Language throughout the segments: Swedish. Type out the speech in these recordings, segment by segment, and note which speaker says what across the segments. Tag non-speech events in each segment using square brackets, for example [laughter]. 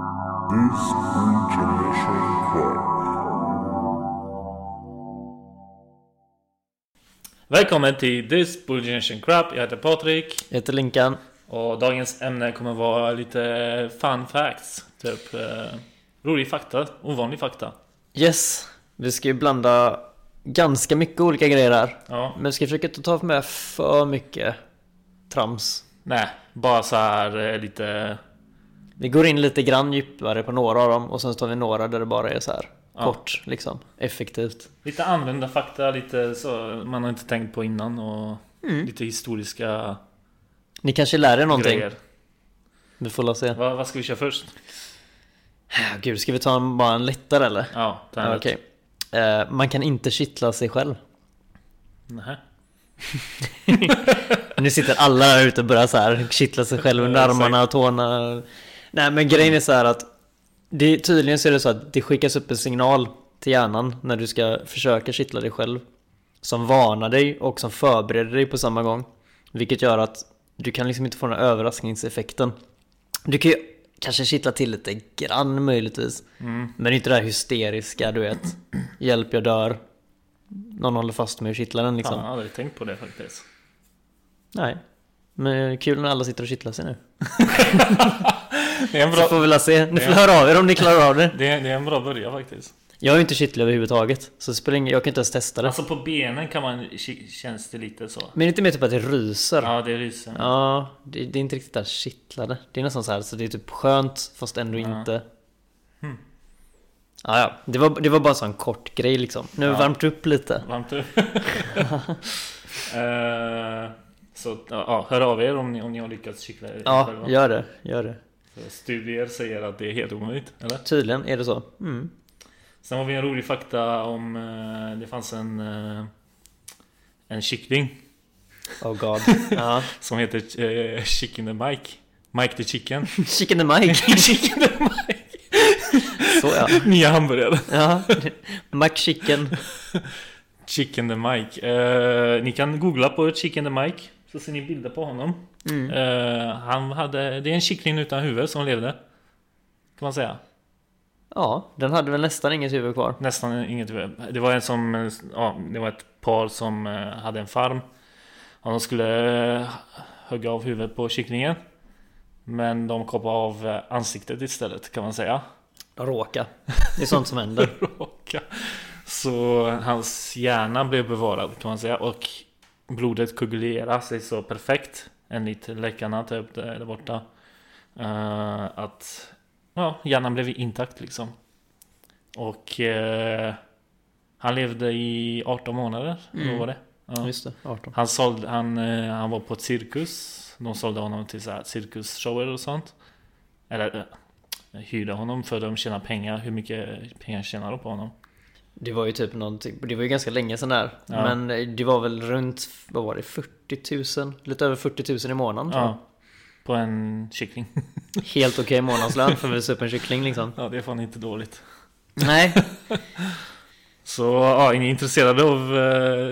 Speaker 1: This international club.
Speaker 2: Välkommen till This Bull Generation Crap. Jag heter Patrik
Speaker 3: Jag heter Linkan.
Speaker 2: och dagens ämne kommer vara lite fun facts. Typ eh, rolig fakta, ovanlig fakta.
Speaker 3: Yes, vi ska ju blanda ganska mycket olika grejer här.
Speaker 2: Ja,
Speaker 3: Men vi ska försöka inte ta med för mycket trams.
Speaker 2: nej, bara så här eh, lite.
Speaker 3: Vi går in lite grann djupare på några av dem och sen tar vi några där det bara är så här
Speaker 2: Ja.
Speaker 3: kort liksom. Effektivt.
Speaker 2: Lite använda fakta, lite så man har inte tänkt på innan och lite historiska
Speaker 3: Ni kanske lär er Mm. någonting?
Speaker 2: grejer.
Speaker 3: Vi får la se.
Speaker 2: Va, vad ska vi köra först?
Speaker 3: Ah, Gud, ska vi ta en, bara en lättare eller?
Speaker 2: Ja, den
Speaker 3: Ja,
Speaker 2: här.
Speaker 3: Okej. Eh, man kan inte kittla sig själv.
Speaker 2: Nähä.
Speaker 3: Nu sitter alla där ute och börjar så här kittla sig själv under
Speaker 2: Ja,
Speaker 3: armarna och tårna. Nej men grejen är så här att det, tydligen så är det så att det skickas upp en signal till hjärnan när du ska försöka kittla dig själv. Som varnar dig och som förbereder dig på samma gång. Vilket gör att du kan liksom inte få den här överraskningseffekten. Du kan ju kanske kittla till lite grann möjligtvis.
Speaker 2: Mm.
Speaker 3: Men det är inte det här hysteriska du vet. Hjälp jag dör. Någon håller fast mig och kittlar den liksom.
Speaker 2: Fan, jag har aldrig tänkt på det faktiskt.
Speaker 3: Nej. Men kul när alla sitter och kittlar sig nu.
Speaker 2: Det är en
Speaker 3: Så
Speaker 2: bra,
Speaker 3: får vi la se. Ni får
Speaker 2: Ja.
Speaker 3: höra av er om ni klarar av det.
Speaker 2: det är, det är en bra början faktiskt.
Speaker 3: Jag är ju inte kittlig överhuvudtaget. Så det spelar ingen, jag kan inte ens testa det.
Speaker 2: Alltså på benen kan man, ki- känns det lite så.
Speaker 3: Men inte mer typ att det ryser. Ja,
Speaker 2: Ja, det ryser.
Speaker 3: det, det är inte riktigt det här kittlade. Det är nästan så här, så det är typ skönt fast ändå
Speaker 2: Ja.
Speaker 3: inte. Hm. Ja, ja. Det var, det var bara så en kort grej liksom. Nu har vi
Speaker 2: Ja.
Speaker 3: värmt upp lite.
Speaker 2: Varmt upp. [laughs] Eh, så ja, ja, hör av er om ni, om ni har lyckats cykla er
Speaker 3: Ja,
Speaker 2: själva.
Speaker 3: gör det. Gör det.
Speaker 2: För Studier säger att det är helt omöjligt, eller?
Speaker 3: Tydligen är det så. Mm.
Speaker 2: Sen har vi en rolig fakta om eh, det fanns en eh, en kyckling
Speaker 3: Oh god. [laughs] Ja.
Speaker 2: som heter eh, Chicken the Mike. Mike the
Speaker 3: [laughs]
Speaker 2: Chicken.
Speaker 3: Chicken and Mike.
Speaker 2: Chicken the Mike.
Speaker 3: Så ja.
Speaker 2: Nya hamburgaren.
Speaker 3: Ja. [laughs] McChicken.
Speaker 2: Chicken the Mike. Eh, ni kan googla på Chicken the Mike så ser ni bilder på honom.
Speaker 3: Mm.
Speaker 2: Eh, han hade, det är en kyckling utan huvud som levde. Kan man säga.
Speaker 3: Ja, den hade väl nästan inget huvud kvar.
Speaker 2: Nästan inget huvud. Det var en som, ja, det var ett par som eh, hade en farm. Och de skulle eh, hugga av huvudet på kycklingen. Men de kapade av eh, ansiktet istället kan man säga.
Speaker 3: De råkar. Det är sånt som händer. [laughs]
Speaker 2: Råka. Så hans hjärna blev bevarad kan man säga. Och blodet koagulerar sig så perfekt. Enligt läkarna typ där där borta. Eh, att ja, hjärnan blev intakt liksom. Och eh, han levde i 18 månader. Mm.
Speaker 3: Mm.
Speaker 2: var det? Ja.
Speaker 3: Just det, 18.
Speaker 2: Han, sålde, han, eh, han var på ett cirkus. De sålde honom till så här cirkusshower och sånt. Eller eh, hyrde honom för de tjänar pengar. Hur mycket pengar tjänar de på honom?
Speaker 3: Det var ju typ någonting, det var ju ganska länge sedan där.
Speaker 2: Ja.
Speaker 3: Men eh, det var väl runt, vad var det, 40 000? Lite över 40 000 i månaden. tror
Speaker 2: Ja, på en kyckling.
Speaker 3: jag. Helt okej månadslön för att visa upp en kyckling liksom.
Speaker 2: [laughs] Ja, det är fan inte dåligt.
Speaker 3: Nej.
Speaker 2: Så ja, är ni intresserade av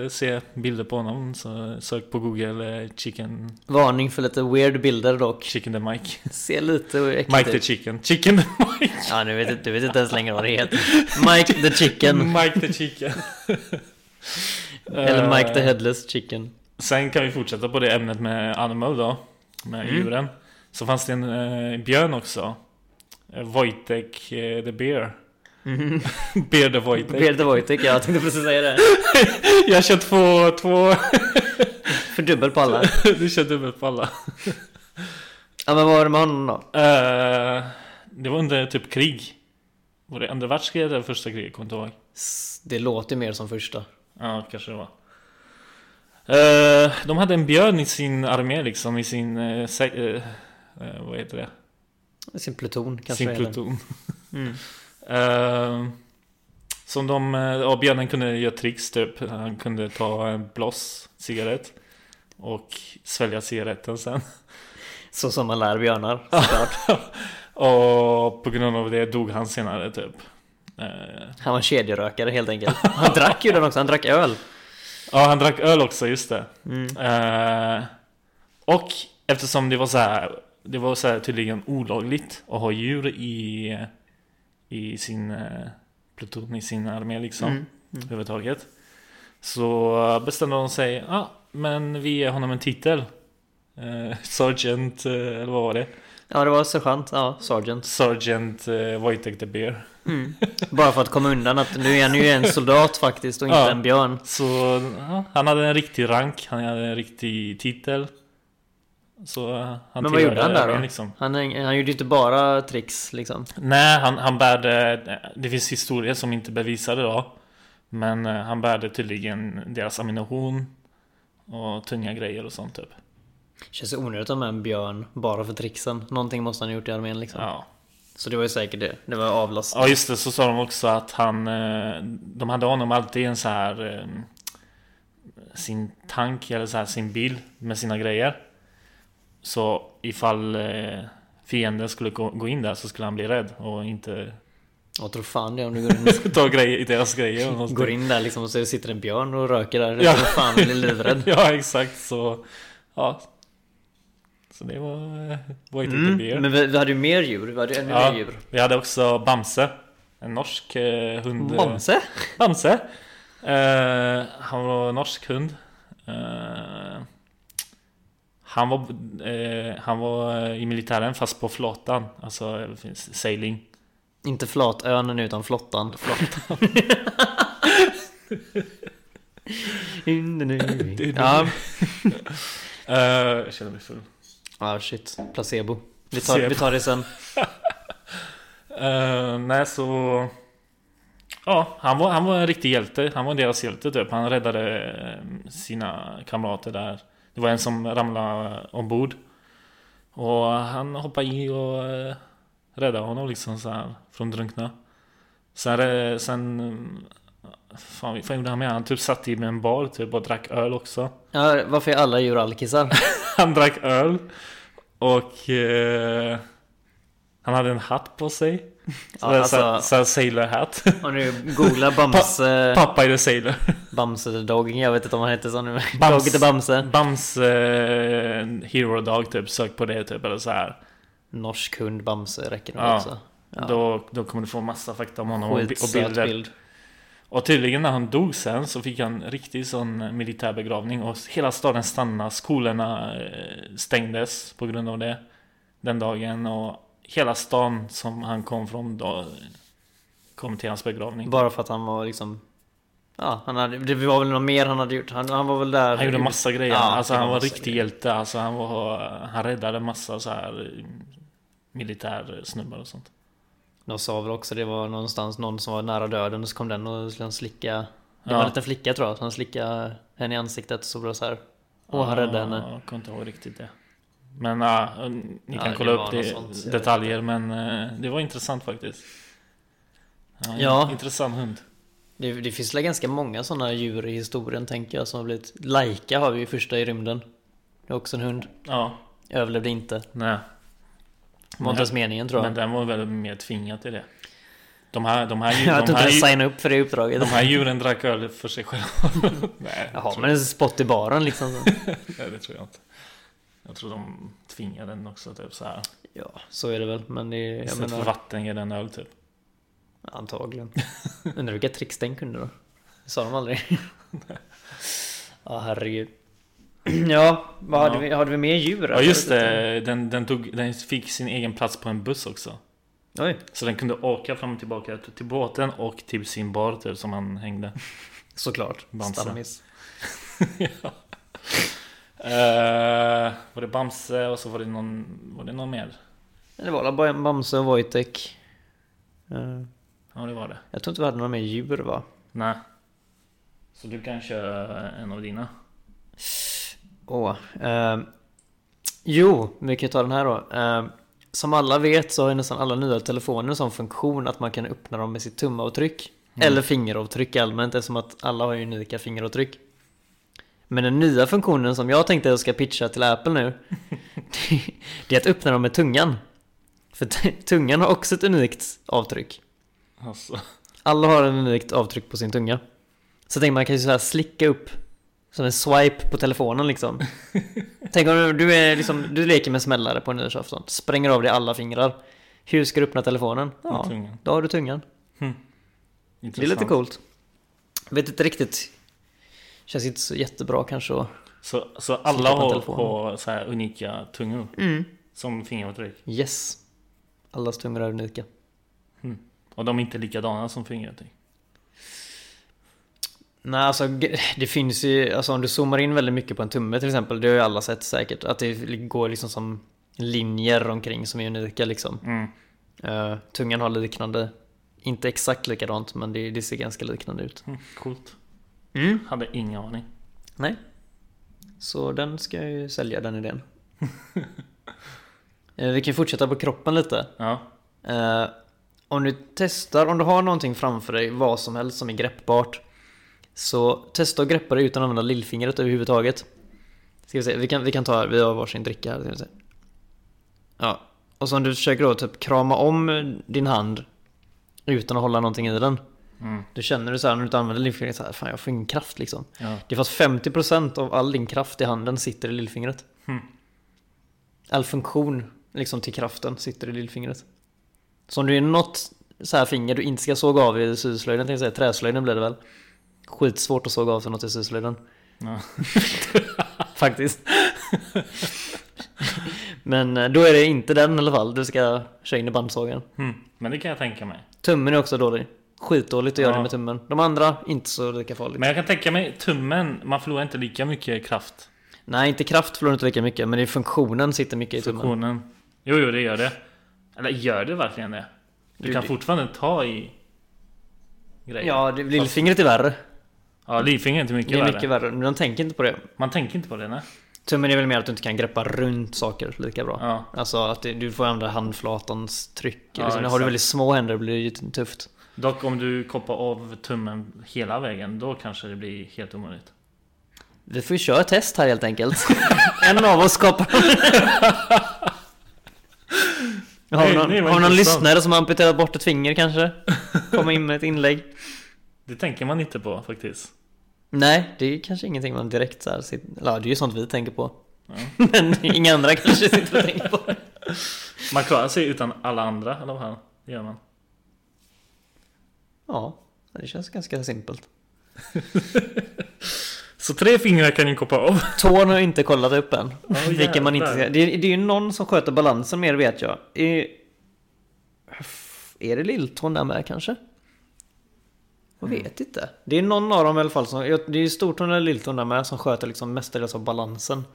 Speaker 2: att se bilder på honom så sök på google eh, chicken,
Speaker 3: Varning för lite weird bilder dock.
Speaker 2: chicken the [laughs] Mike.
Speaker 3: Se lite äckligt
Speaker 2: Mike the
Speaker 3: ut.
Speaker 2: chicken. Chicken the Mike.
Speaker 3: Ja, nu vet, du vet inte ens längre vad det heter. Mike the Chicken.
Speaker 2: [laughs] Mike the chicken.
Speaker 3: Eller Mike the
Speaker 2: Eh,
Speaker 3: Headless Chicken.
Speaker 2: Sen kan vi fortsätta på det ämnet med animal då. Med djuren. Så fanns det en eh, björn också. Eh, Wojtek eh, the bear.
Speaker 3: Mm.
Speaker 2: [laughs] Bear the Wojtek.
Speaker 3: Beard Wojtek, jag tänkte precis säga det.
Speaker 2: Jag kör två, två. [laughs]
Speaker 3: För dubbel på alla.
Speaker 2: du kör dubbelt på alla.
Speaker 3: Ja men vad var det med honom då?
Speaker 2: Eh, det var under typ krig. Var det andra världskriget eller första kriget? Kommer inte ihåg.
Speaker 3: S- Det låter mer som första.
Speaker 2: Ja, kanske det var. Eh, de hade en björn i sin armé liksom, i sin... eh, sä- eh, eh, vad heter det?
Speaker 3: Sin pluton kanske det
Speaker 2: sin
Speaker 3: är den.
Speaker 2: pluton.
Speaker 3: Mm.
Speaker 2: [laughs] Eh, som de, eh, ja björnen kunde göra tricks typ. Han kunde ta en blås cigarett. Och svälja cigaretten sen. [laughs]
Speaker 3: Så som man lär björnar.
Speaker 2: Och på grund av det dog han senare typ. Eh,
Speaker 3: Han var en kedjerökare helt enkelt. Han drack ju den också, han drack öl.
Speaker 2: ja han drack öl också, just det.
Speaker 3: Mm.
Speaker 2: Eh, och eftersom det var så här, det var så här tydligen olagligt att ha djur i i sin eh, pluton, i sin armé liksom.
Speaker 3: Mm.
Speaker 2: Överhuvudtaget. Så bestämde de sig, ja ah, men vi ger honom en titel. Eh, Sergeant, eh, eller vad var det?
Speaker 3: Ja, det var sergeant. Ja, sergeant.
Speaker 2: Sergeant eh, Wojtek the Bear.
Speaker 3: Bara för att komma undan att nu är han ju en soldat faktiskt och inte
Speaker 2: Ja.
Speaker 3: en björn.
Speaker 2: Så ja, han hade en riktig rank, han hade en riktig titel. Så eh, han
Speaker 3: Men vad gjorde
Speaker 2: tillhörde
Speaker 3: han där då?
Speaker 2: armén, Liksom.
Speaker 3: Han, är- han gjorde ju inte bara tricks liksom.
Speaker 2: Nej, han, han bärde... Det finns historier som inte bevisar det då. Men eh, han bärde tydligen deras ammunition och tunga grejer och sånt typ.
Speaker 3: Känns så onödigt att ha med en björn bara för tricksen. Någonting måste han ha gjort i armén liksom.
Speaker 2: Ja.
Speaker 3: Så det var ju säkert det. Det var avlastning.
Speaker 2: ja, just det. Så sa de också att han... eh, De hade honom alltid i en så här... eh, Sin tank eller så här, sin bil med sina grejer. Så ifall eh, fienden skulle gå gå in där så skulle han bli rädd och inte [laughs]
Speaker 3: Jag tror fan det om du går in,
Speaker 2: ta grejer, deras grejer. och någonting.
Speaker 3: går in där liksom och så sitter en björn och röker där.
Speaker 2: Ja.
Speaker 3: Jag tror fan blir livrädd.
Speaker 2: [laughs] Ja, exakt så. Ja. Så det var eh, Wait mm, the Beer.
Speaker 3: Mm, men vi, vi hade ju mer djur. Vi hade ju ännu
Speaker 2: ja,
Speaker 3: mer djur.
Speaker 2: vi hade också Bamse. En norsk eh, hund. eh,
Speaker 3: Bamse?
Speaker 2: Bamse. Eh, han var norsk hund. Eh, han var, eh, han var eh, i militären fast på flottan. Alltså eh, det finns sailing.
Speaker 3: Inte flatönen utan flottan. Flottan. ja.
Speaker 2: Eh, jag känner mig full.
Speaker 3: ja, shit. Placebo. Vi tar, vi tar det sen.
Speaker 2: Eh, nej, så... Ja, han var, han var en riktig hjälte. Han var deras hjälte typ. Han räddade eh, sina kamrater där. Det var en som ramlade ombord. Och han hoppade i och eh, räddade honom liksom så här från drunkna. Sen... eh, sen eh, fan, vad fan gjorde han med? Han typ satt i med en bar typ och drack öl också.
Speaker 3: Ja, varför är alla djur alkisar?
Speaker 2: Han drack öl. Och... Eh, han hade en hatt på
Speaker 3: [laughs]
Speaker 2: sig. Så
Speaker 3: Ja,
Speaker 2: det är så här-
Speaker 3: alltså-
Speaker 2: så här sailor hat. [laughs]
Speaker 3: Och nu googlar Bamse...
Speaker 2: Pappa är the sailor.
Speaker 3: Bamse the Dog. Jag vet inte om han hette så nu.
Speaker 2: Bams-
Speaker 3: Dogget the Bamse.
Speaker 2: Bams eh, Hero Dog typ, sök på det typ eller så här.
Speaker 3: Norsk hund Bamse räcker nog
Speaker 2: Ja.
Speaker 3: också. Ja.
Speaker 2: Då, då kommer du få massa fakta om honom och, bi- och
Speaker 3: Skitsöt
Speaker 2: bilder.
Speaker 3: bild.
Speaker 2: Och tydligen när han dog sen så fick han en riktig sån militär begravning och hela staden stannade, skolorna eh, stängdes på grund av det. Den dagen och hela stan som han kom från då kom till hans begravning.
Speaker 3: Bara för att han var liksom... Ja, han hade, det var väl något mer han hade gjort. Han, han var väl där...
Speaker 2: Han gjorde massa grejer.
Speaker 3: Ja,
Speaker 2: alltså
Speaker 3: det
Speaker 2: han
Speaker 3: var
Speaker 2: var
Speaker 3: massa
Speaker 2: riktig
Speaker 3: grejer.
Speaker 2: hjälte. Alltså han var... Han räddade massa så här eh, militärsnubbar och sånt.
Speaker 3: De sa väl också det var någonstans någon som var nära döden och så kom den och skulle han slicka... Det
Speaker 2: Ja.
Speaker 3: var en liten flicka tror jag, så han slickade henne i ansiktet så blev det så här. Och
Speaker 2: Ah.
Speaker 3: han räddade henne.
Speaker 2: Jag kommer inte ihåg riktigt det. Men ja, ni
Speaker 3: Ja,
Speaker 2: kan
Speaker 3: det
Speaker 2: kolla
Speaker 3: var
Speaker 2: upp
Speaker 3: något
Speaker 2: det,
Speaker 3: sånt, jag vet
Speaker 2: detaljer men eh, det var intressant faktiskt. Ja,
Speaker 3: Ja.
Speaker 2: Intressant hund.
Speaker 3: Det, det finns väl ganska många sådana djur i historien tänker jag som har blivit... Laika har vi ju första i rymden. Det är också en hund.
Speaker 2: Ja,
Speaker 3: Överlevde inte.
Speaker 2: nej.
Speaker 3: Var inte ens meningen tror jag.
Speaker 2: Men den var väl mer tvingad till det. De här,
Speaker 3: [laughs]
Speaker 2: de här, de
Speaker 3: jag
Speaker 2: här,
Speaker 3: tror
Speaker 2: de
Speaker 3: inte
Speaker 2: här,
Speaker 3: ens
Speaker 2: dju-
Speaker 3: signa upp för
Speaker 2: [laughs]
Speaker 3: det uppdraget.
Speaker 2: de här djuren drack öl för sig
Speaker 3: [laughs]
Speaker 2: själva. nej,
Speaker 3: Jaha, men en spott i baren liksom.
Speaker 2: [laughs]
Speaker 3: Så.
Speaker 2: nej, det tror jag inte. Jag tror de tvingade den också typ så här.
Speaker 3: Ja, så är det väl. Men det är, jag
Speaker 2: Istället för
Speaker 3: menar,
Speaker 2: vatten ger den öl typ.
Speaker 3: antagligen. [laughs] Undrar vilka tricks den kunde då? Det sa de [laughs] aldrig. Ja, herregud. [clears throat] Ja, vad hade,
Speaker 2: Ja.
Speaker 3: Vi, hade vi mer djur?
Speaker 2: Ja
Speaker 3: eller?
Speaker 2: just det, den, den, tog, den fick sin egen plats på en buss också.
Speaker 3: Oj,
Speaker 2: Så den kunde åka fram och tillbaka till båten och till sin bar typ, som han
Speaker 3: [laughs]
Speaker 2: hängde.
Speaker 3: såklart.
Speaker 2: Bamse.
Speaker 3: Stammis.
Speaker 2: Eh, var det Bamse och så var det någon, var det någon mer?
Speaker 3: Det var bara en Bamse och Wojtek. Eh,
Speaker 2: Ja det var det.
Speaker 3: Jag tror inte vi hade några mer djur va?
Speaker 2: Nej. Så du kan köra en av dina.
Speaker 3: Åh. eh, jo, vi kan ju ta den här då. Eh, som alla vet så har ju nästan alla nya telefoner som funktion att man kan öppna dem med sitt tumavtryck.
Speaker 2: Mm.
Speaker 3: Eller fingeravtryck allmänt eftersom att alla har ju unika fingeravtryck. Men den nya funktionen som jag tänkte jag ska pitcha till Apple nu. [laughs] det- det är att öppna dem med tungan. För t- [laughs] tungan har också ett unikt avtryck.
Speaker 2: Alltså.
Speaker 3: Alla har en unikt avtryck på sin tunga. Så tänk man kan ju så här slicka upp som en swipe på telefonen liksom. Tänk om du, du, är liksom, du leker med smällare på nyårsafton, spränger av dig alla fingrar. Hur ska du öppna telefonen?
Speaker 2: Ja.
Speaker 3: Ja, då har du tungan. Det är lite coolt. Jag vet inte riktigt. Känns inte så jättebra kanske. att-
Speaker 2: Så, så
Speaker 3: Slicka
Speaker 2: alla
Speaker 3: på
Speaker 2: har,
Speaker 3: telefonen. Mm.
Speaker 2: har så här unika tungor som fingeravtryck.
Speaker 3: Yes. Allas tungor är unika.
Speaker 2: Och de är inte likadana som fingeravtryck.
Speaker 3: Nej, alltså g- det finns ju, alltså om du zoomar in väldigt mycket på en tumme till exempel, det har ju alla sett säkert, att det går liksom som linjer omkring som är unika liksom.
Speaker 2: Mm.
Speaker 3: Eh, tungan har liknande, inte exakt likadant, men det, det ser ganska liknande ut.
Speaker 2: Mm, coolt.
Speaker 3: Mm.
Speaker 2: Hade ingen aning.
Speaker 3: Nej. Så den ska jag ju sälja, den [laughs] idén. Eh, Vi kan ju fortsätta på kroppen lite.
Speaker 2: Ja.
Speaker 3: Eh, om du testar, om du har någonting framför dig, vad som helst som är greppbart. Så testa att greppa det utan att använda lillfingret överhuvudtaget. Ska vi se, vi kan, vi kan ta, vi har varsin dricka här. Ska vi se. Ja, och så om du försöker då typ krama om din hand utan att hålla någonting i den.
Speaker 2: Mm.
Speaker 3: Då känner du så här när du inte använder lillfingret, så här, fan jag får ingen kraft liksom.
Speaker 2: ja.
Speaker 3: Det är för att 50% av all din kraft i handen sitter i lillfingret.
Speaker 2: Hmm.
Speaker 3: All funktion liksom till kraften sitter i lillfingret. Så om du är något så här finger du inte ska såga av i syslöjden, tänkte jag säga, träslöjden blir det väl. Skitsvårt att såga av sig något
Speaker 2: [laughs]
Speaker 3: i syslöjden. [laughs]
Speaker 2: Ja.
Speaker 3: Faktiskt. Men eh, då är det inte den i alla fall du ska köra in i bandsågen.
Speaker 2: Hmm. Men det kan jag tänka mig.
Speaker 3: Tummen är också dålig. Skitdåligt att göra
Speaker 2: Ja.
Speaker 3: det med tummen. De andra, inte så lika farligt.
Speaker 2: Men jag kan tänka mig tummen, man förlorar inte lika mycket kraft.
Speaker 3: Nej, inte kraft förlorar du inte lika mycket, men det är funktionen sitter mycket i tummen.
Speaker 2: Funktionen. Jo, jo, det gör det. Eller gör det verkligen det? Du
Speaker 3: Jo,
Speaker 2: kan
Speaker 3: det-
Speaker 2: fortfarande ta i grejer.
Speaker 3: Ja, det, lillfingret är värre.
Speaker 2: ja livfingret är inte mycket
Speaker 3: Det är
Speaker 2: värre.
Speaker 3: mycket värre. Men de tänker inte på det.
Speaker 2: Man tänker inte på det, nej.
Speaker 3: Tummen är väl mer att du inte kan greppa runt saker lika bra.
Speaker 2: Ja.
Speaker 3: Alltså att det, du får använda handflatans tryck.
Speaker 2: Ja,
Speaker 3: liksom. Har
Speaker 2: exakt.
Speaker 3: du väldigt små händer blir det ju tufft.
Speaker 2: Dock om du koppar av tummen hela vägen, då kanske det blir helt omöjligt.
Speaker 3: Vi får ju köra ett test här helt enkelt. [laughs] en av oss
Speaker 2: [laughs]
Speaker 3: skapar... har vi
Speaker 2: Nej,
Speaker 3: någon,
Speaker 2: nej, vad
Speaker 3: har vi någon
Speaker 2: intressant.
Speaker 3: lyssnare som har amputerat bort ett finger kanske? Komma in med ett inlägg.
Speaker 2: Det tänker man inte på faktiskt.
Speaker 3: Nej, det är kanske ingenting man direkt så här sitter... eller, Ja, det är ju sånt vi tänker på.
Speaker 2: Ja.
Speaker 3: [laughs] Men inga andra kanske sitter och tänker på.
Speaker 2: Man klarar sig utan alla andra, eller vad? Det gör man.
Speaker 3: Ja, det känns ganska simpelt.
Speaker 2: Så tre fingrar kan ni koppa av. [laughs]
Speaker 3: Tån har jag inte kollat upp än. [laughs] vilken man inte
Speaker 2: jävlar.
Speaker 3: ser. Det, är- det är ju någon som sköter balansen mer vet jag. Är, är det lilltån där med kanske? Jag vet inte. Det är någon av dem i alla fall som... jag- Det är ju stortån eller lilltån där med som sköter liksom mestadels av balansen.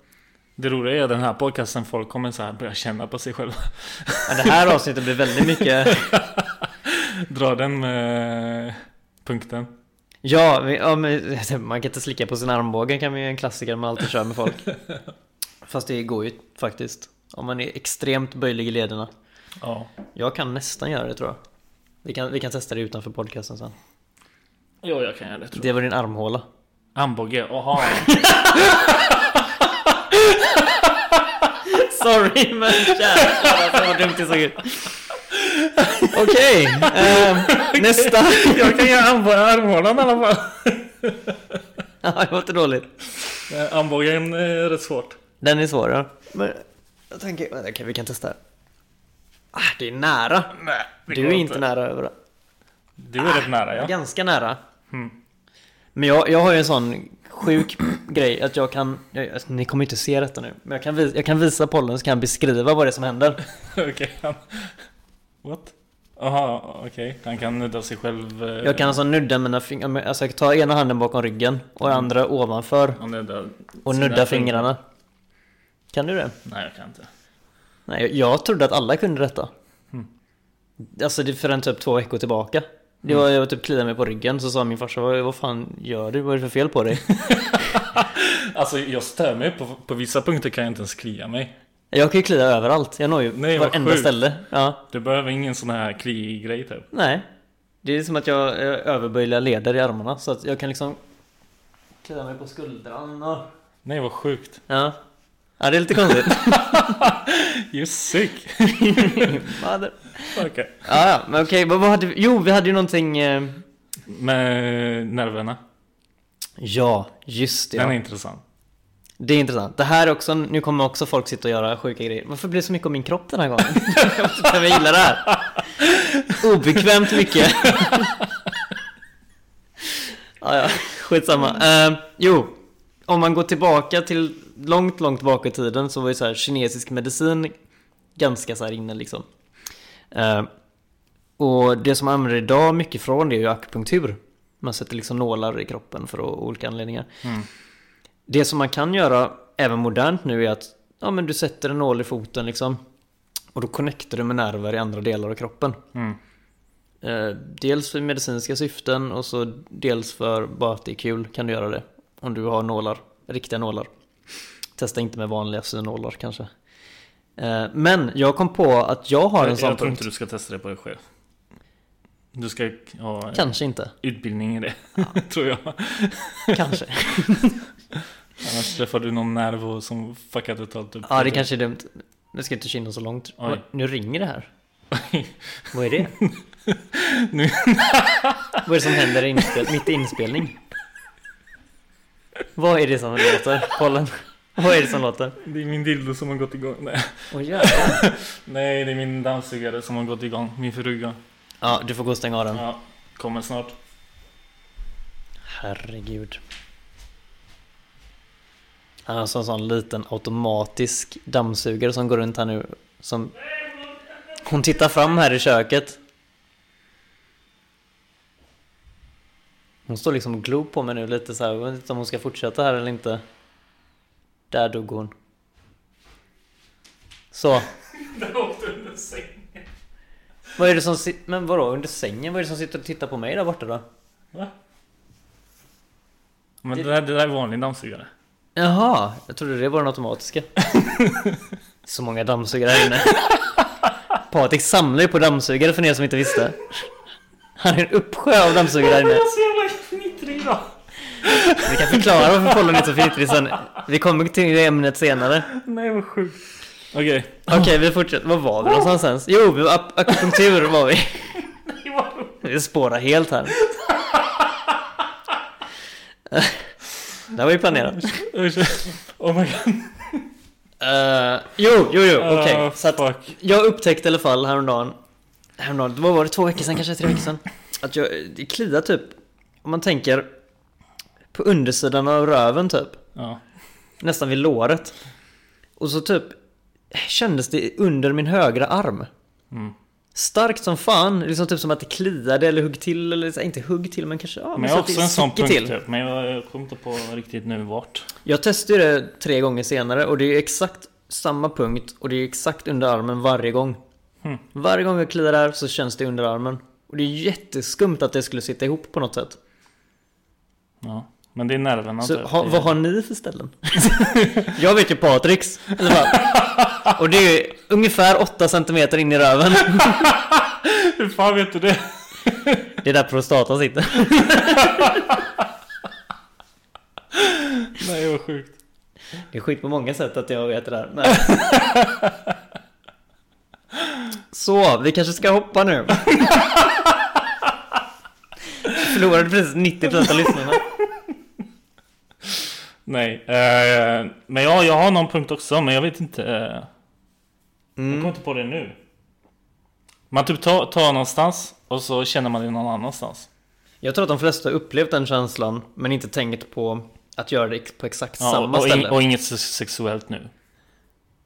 Speaker 2: Det roliga är att den här podcasten, folk kommer så här börja känna på sig själva.
Speaker 3: Men det här avsnittet blir väldigt mycket...
Speaker 2: Dra den med punkten.
Speaker 3: Ja, vi- ja men, [laughs] man kan inte slicka på sin armbåge kan man ju en klassiker man alltid kör med folk. Fast det går ju faktiskt. Om man är extremt böjlig i lederna.
Speaker 2: Ja.
Speaker 3: Jag kan nästan göra det tror jag. Vi kan, vi kan testa det utanför podcasten sen.
Speaker 2: Jo, jag kan göra det tror jag.
Speaker 3: Det var din armhåla.
Speaker 2: Armbåge, aha.
Speaker 3: [laughs] Sorry men jävlar alltså, vad dumt det såg ut. [laughs] Okej, ehm, [laughs] nästa.
Speaker 2: jag kan göra armbå- armhålan i alla fall.
Speaker 3: Ja, det var inte dåligt.
Speaker 2: Eh, Armbågen är rätt svårt.
Speaker 3: Den är svårare. Men jag tänker, vänta, okej vi kan testa. här. Ah, det är nära.
Speaker 2: Nej, det
Speaker 3: Du
Speaker 2: går
Speaker 3: är inte nära över.
Speaker 2: Du är rätt nära ja.
Speaker 3: Ganska nära. Hmm. Men jag, jag har ju en sån sjuk [clears throat] grej att jag kan, jag, alltså, ni kommer inte se detta nu, men jag kan, vis, jag kan visa pollen så kan jag beskriva vad det är som händer.
Speaker 2: Okej, han... What? Aha, okej. Han kan nudda sig själv. eh,
Speaker 3: Jag kan alltså nudda mina fingrar, alltså jag tar ena handen bakom ryggen och
Speaker 2: Mm.
Speaker 3: den andra ovanför
Speaker 2: Han nuddar
Speaker 3: och
Speaker 2: sina fingrar.
Speaker 3: nudda fingrarna. Kan du det?
Speaker 2: Nej, jag kan inte.
Speaker 3: Nej, jag- jag trodde att alla kunde detta.
Speaker 2: Hm.
Speaker 3: Alltså det är för en typ två veckor tillbaka. Det
Speaker 2: Mm.
Speaker 3: var, jag typ kliade mig på ryggen så sa min farsa vad, vad fan gör du? Vad är det för fel på dig? [laughs]
Speaker 2: Alltså, jag stör mig. På, på vissa punkter kan jag inte ens klia mig.
Speaker 3: jag kan ju klia överallt, jag når ju
Speaker 2: Nej, vad
Speaker 3: varenda
Speaker 2: sjukt.
Speaker 3: ställe. Ja.
Speaker 2: Du behöver ingen sån här kli-grej typ.
Speaker 3: Nej. Det är som att jag eh, överböjliga leder i armarna så att jag kan liksom klia mig på skuldran och...
Speaker 2: Nej, vad sjukt.
Speaker 3: Ja. Ja, det är
Speaker 2: [laughs]
Speaker 3: lite konstigt.
Speaker 2: You sick!
Speaker 3: Mother-
Speaker 2: Okej.
Speaker 3: ja, ja, men okej, vad, vad hade vi? Jo, vi hade ju någonting... Eh...
Speaker 2: Med nerverna.
Speaker 3: Ja, just det.
Speaker 2: Den är
Speaker 3: Ja.
Speaker 2: intressant.
Speaker 3: Det är intressant. Det här är också, nu kommer också folk sitta och göra sjuka grejer. Varför blir det så mycket om min kropp den här gången? [laughs] jag gillar det här. Obekvämt mycket. [laughs] ja, ja, skitsamma. Eh, jo, om man går tillbaka till långt, långt bak i tiden så var ju så här kinesisk medicin ganska så här inne liksom. Eh, och det som man använder idag mycket från det är ju akupunktur. Man sätter liksom nålar i kroppen för o- olika anledningar.
Speaker 2: Mm.
Speaker 3: Det som man kan göra även modernt nu är att ja, men du sätter en nål i foten liksom. Och då connectar du med nerver i andra delar av kroppen.
Speaker 2: Mm.
Speaker 3: Eh, dels för medicinska syften och så dels för bara att det är kul kan du göra det. Om du har nålar, riktiga nålar. Testa inte med vanliga synålar kanske. Eh, men jag kom på att jag har en
Speaker 2: jag
Speaker 3: sån
Speaker 2: jag tror
Speaker 3: punkt.
Speaker 2: inte du ska testa det på dig själv. Du ska ha en
Speaker 3: Kanske inte.
Speaker 2: utbildning i det, [laughs] tror jag. [laughs]
Speaker 3: Kanske.
Speaker 2: Annars träffar du någon nervo som fuckar totalt upp.
Speaker 3: Ja, det kanske är dumt. Nu ska jag inte kinda så långt.
Speaker 2: Oj.
Speaker 3: Oj, Nu ringer det här. Vad är det?
Speaker 2: Nu-
Speaker 3: Vad är det som händer i inspel- mitt i inspelning? Vad är det som låter? Pollen. Vad är det som låter?
Speaker 2: [laughs] Det är min dildo som har gått igång. Nej.
Speaker 3: Åh jävlar.
Speaker 2: Nej, det är min dammsugare som har gått igång. Min fruga.
Speaker 3: Ja, du får gå och stänga av den.
Speaker 2: Ja, kommer snart.
Speaker 3: Herregud. Han har alltså en sån liten automatisk dammsugare som går runt här nu. Som... Hon tittar fram här i köket. Hon står liksom och glor på mig nu lite så här. Jag vet inte om hon ska fortsätta här eller inte. Där dog hon.
Speaker 2: [laughs]
Speaker 3: Så.
Speaker 2: Den åkte under sängen.
Speaker 3: Vad är det som sitter... Men vadå under sängen? Vad är det som sitter och tittar på mig där borta då?
Speaker 2: Men det där, det där är vanlig dammsugare.
Speaker 3: Jaha, jag trodde det var den automatiska. Så många dammsugare här inne. Patrik samlar ju på dammsugare för er som inte visste. Han är en uppsjö av dammsugare här inne.
Speaker 2: är så jävla fnittrig idag.
Speaker 3: Vi kan förklara varför pollen är så fnittrig sen. Vi kommer till det ämnet senare.
Speaker 2: Nej, vad sjukt. Okej. [laughs]
Speaker 3: Okej, vi fortsätter. Var var vi någonstans ens? Jo, vi var ap- akupunktur var vi. Vi spårar helt här. Det här var ju planerat.
Speaker 2: Oh my god.
Speaker 3: Eh, jo, jo, jo, okej.
Speaker 2: Ah,
Speaker 3: Så att
Speaker 2: fuck.
Speaker 3: Jag upptäckte i alla fall häromdagen, häromdagen, vad var det, två veckor sedan kanske, tre veckor sedan? Att jag, det kliar typ, om man tänker på undersidan av röven typ,
Speaker 2: Ja.
Speaker 3: nästan vid låret. Och så typ kändes det under min högra arm.
Speaker 2: Mm.
Speaker 3: Starkt som fan, liksom typ som att det kliade eller hugg till, eller så- inte hugg till men kanske, ja
Speaker 2: Men jag
Speaker 3: så
Speaker 2: har
Speaker 3: att det
Speaker 2: också en sån
Speaker 3: sticker
Speaker 2: punkt typ. Men jag kommer inte på riktigt nu vart.
Speaker 3: Jag testade ju det tre gånger senare och det är exakt samma punkt och det är exakt under armen varje gång.
Speaker 2: Hmm.
Speaker 3: Varje gång jag kliar där så känns det under armen. Och det är jätteskumt att det skulle sitta ihop på något sätt.
Speaker 2: Ja. Men det är nerverna
Speaker 3: Så
Speaker 2: typ.
Speaker 3: ha,
Speaker 2: Det är-
Speaker 3: vad har ni för ställen? [laughs] jag vet ju Patriks. i alla fall.
Speaker 2: [laughs]
Speaker 3: Och det är ungefär 8 centimeter in i röven.
Speaker 2: Hur fan vet du det?
Speaker 3: Det är där prostatan sitter.
Speaker 2: Nej, vad sjukt.
Speaker 3: Det är skit på många sätt att jag vet det där. Men... [laughs] Så, vi kanske ska hoppa nu. [laughs] Förlorade precis 90% av lyssnarna.
Speaker 2: Nej. eh, men ja, jag har någon punkt också, men jag vet inte. eh,
Speaker 3: Mm.
Speaker 2: Jag kommer inte på det nu. Man typ tar, tar någonstans och så känner man det någon annanstans.
Speaker 3: Jag tror att de flesta har upplevt den känslan, men inte tänkt på att göra det ex- på exakt
Speaker 2: Ja,
Speaker 3: samma
Speaker 2: och, och,
Speaker 3: ställe.
Speaker 2: in- och inget se- sexuellt nu.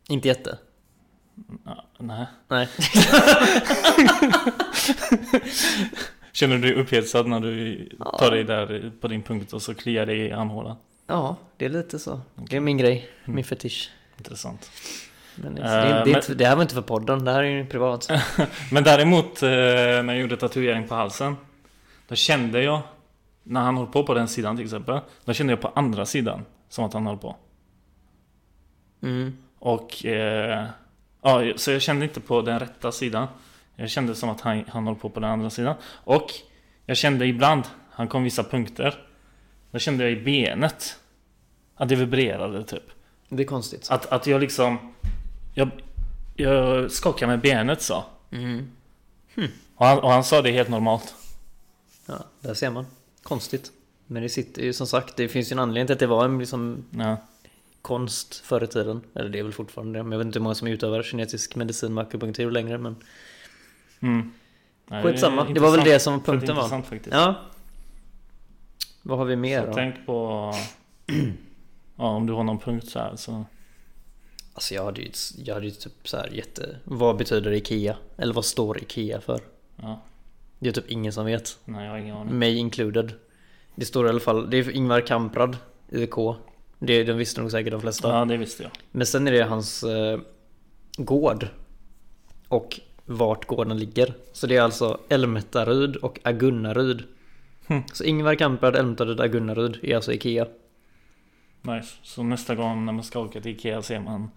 Speaker 3: Inte jätte.
Speaker 2: Ja, nej.
Speaker 3: Nej.
Speaker 2: Känner du dig upphetsad när du tar dig där på din punkt och så kliar dig i armhålan?
Speaker 3: [laughs] Ja, det är lite så. Det är min grej. Min fetisch.
Speaker 2: Intressant.
Speaker 3: Men det,
Speaker 2: Eh,
Speaker 3: det, det, är
Speaker 2: men-
Speaker 3: inte- det här var inte för podden, det här är ju [laughs] privat.
Speaker 2: Men däremot eh, när jag gjorde tatuering på halsen Då kände jag När han höll på på den sidan till exempel Då kände jag på andra sidan Som att han höll på
Speaker 3: Mm.
Speaker 2: Och eh, ja, Så jag kände inte på den rätta sidan Jag kände som att han, han höll på på den andra sidan Och jag kände ibland Han kom vissa punkter Då kände jag i benet Att det vibrerade typ
Speaker 3: Det är konstigt.
Speaker 2: Att, att jag liksom jag, jag skakade med benet så
Speaker 3: Mm.
Speaker 2: och han, och han sa det helt normalt
Speaker 3: Ja, där ser man. Konstigt. Men det sitter ju som sagt, det finns ju en anledning till att det var en liksom
Speaker 2: ja.
Speaker 3: konst förr i tiden. Eller det är väl fortfarande det. Men jag vet inte hur många som utövar kinesisk medicin med akupunktur längre. Men
Speaker 2: Mm. Nej, är
Speaker 3: Skitsamma, det var väl det som
Speaker 2: intressant. Väldigt
Speaker 3: punkten var.
Speaker 2: Intressant faktiskt.
Speaker 3: ja. Vad har vi mer
Speaker 2: så
Speaker 3: då?
Speaker 2: tänk på...
Speaker 3: [clears throat]
Speaker 2: Ja, om du har någon punkt så här så...
Speaker 3: Alltså jag hade ju, jag hade ju typ så här jätte... Vad betyder IKEA? Eller vad står IKEA för?
Speaker 2: Ja,
Speaker 3: Det är typ ingen som vet.
Speaker 2: nej jag har ingen aning.
Speaker 3: Mig included. Det står i alla fall, det är för Ingvar Kamprad, UK. Det, den visste nog säkert de flesta.
Speaker 2: Ja, det visste jag.
Speaker 3: Men sen är det hans eh, gård. Och vart gården ligger. Så det är alltså Älmtaryd och Agunnaryd.
Speaker 2: Hm.
Speaker 3: Så Ingvar Kamprad, Älmtaryd, Agunnaryd är alltså IKEA.
Speaker 2: Nice. Så nästa gång när man ska åka till Ikea ser man...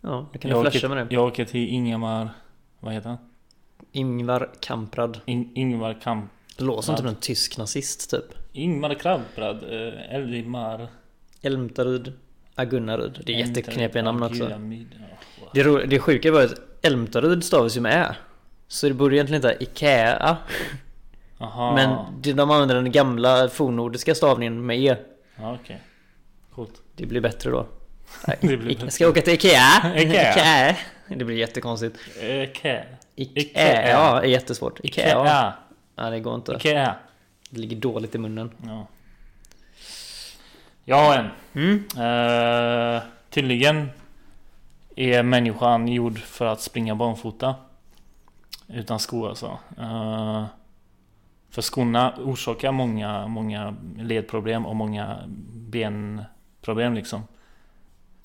Speaker 3: Ja, då kan
Speaker 2: jag,
Speaker 3: du flasha
Speaker 2: åker,
Speaker 3: med det.
Speaker 2: jag åker till Ingemar... Vad heter han?
Speaker 3: Ingvar Kamprad.
Speaker 2: In, Ingvar Kamp...
Speaker 3: Det låter som
Speaker 2: Ja.
Speaker 3: typ en tysk nazist typ.
Speaker 2: Ingmar Kamprad. Eh, Elmar...
Speaker 3: Älmtaryd, Agunnaryd. Det är jätteknepiga namn också.
Speaker 2: Pyramid, ja, wow.
Speaker 3: Det, ro- det sjuka var att Älmtaryd stavas ju med Ä. Så det borde egentligen inte IKEA.
Speaker 2: Aha.
Speaker 3: Men det- de använder den gamla fornnordiska stavningen med E.
Speaker 2: Ja, okej. Coolt.
Speaker 3: Det blir bättre då.
Speaker 2: [laughs] Det blir
Speaker 3: Jag ska åka till [laughs] Ikea!
Speaker 2: Ikea.
Speaker 3: Det blir jättekonstigt.
Speaker 2: Eh, Ikea.
Speaker 3: Ikea. Ja, är jättesvårt. Ikea.
Speaker 2: Ikea.
Speaker 3: Ja, det går inte.
Speaker 2: Ikea.
Speaker 3: Det ligger dåligt i munnen.
Speaker 2: Ja. Jag har en.
Speaker 3: Mm.
Speaker 2: Eh, tydligen är människan gjord för att springa barnfota. Utan skor alltså. Eh, för skorna orsakar många, många ledproblem och många benproblem liksom.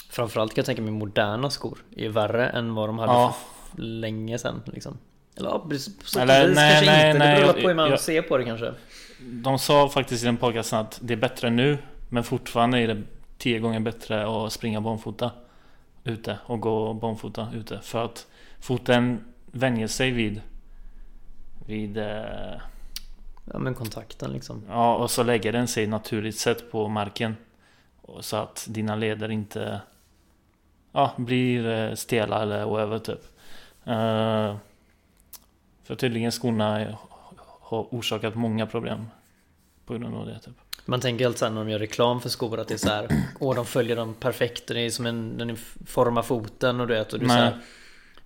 Speaker 3: Framförallt kan jag tänka mig moderna skor är värre än vad de hade
Speaker 2: Ja.
Speaker 3: för länge sedan. Liksom. Eller ja, precis- på sätt och
Speaker 2: Eller,
Speaker 3: vis
Speaker 2: nej,
Speaker 3: kanske
Speaker 2: nej,
Speaker 3: inte.
Speaker 2: nej,
Speaker 3: det beror
Speaker 2: jag-
Speaker 3: på hur man
Speaker 2: jag-
Speaker 3: ser på det kanske.
Speaker 2: De sa faktiskt i den podcasten att det är bättre nu Men fortfarande är det tio gånger bättre att springa barnfota Ute och gå barnfota ute För att foten vänjer sig vid Vid eh,
Speaker 3: Ja men kontakten liksom.
Speaker 2: Ja och så lägger den sig naturligt sett på marken Och Så att dina leder inte Ja blir eh, stela eller whatever typ Eh, För tydligen skorna har orsakat många problem På grund av det typ
Speaker 3: Man tänker alltid så här när de gör reklam för skor att det är så här. [clears throat] Åh de följer dem perfekt. Den är som en, den formar foten och du vet. Och du är så
Speaker 2: Nej.
Speaker 3: här,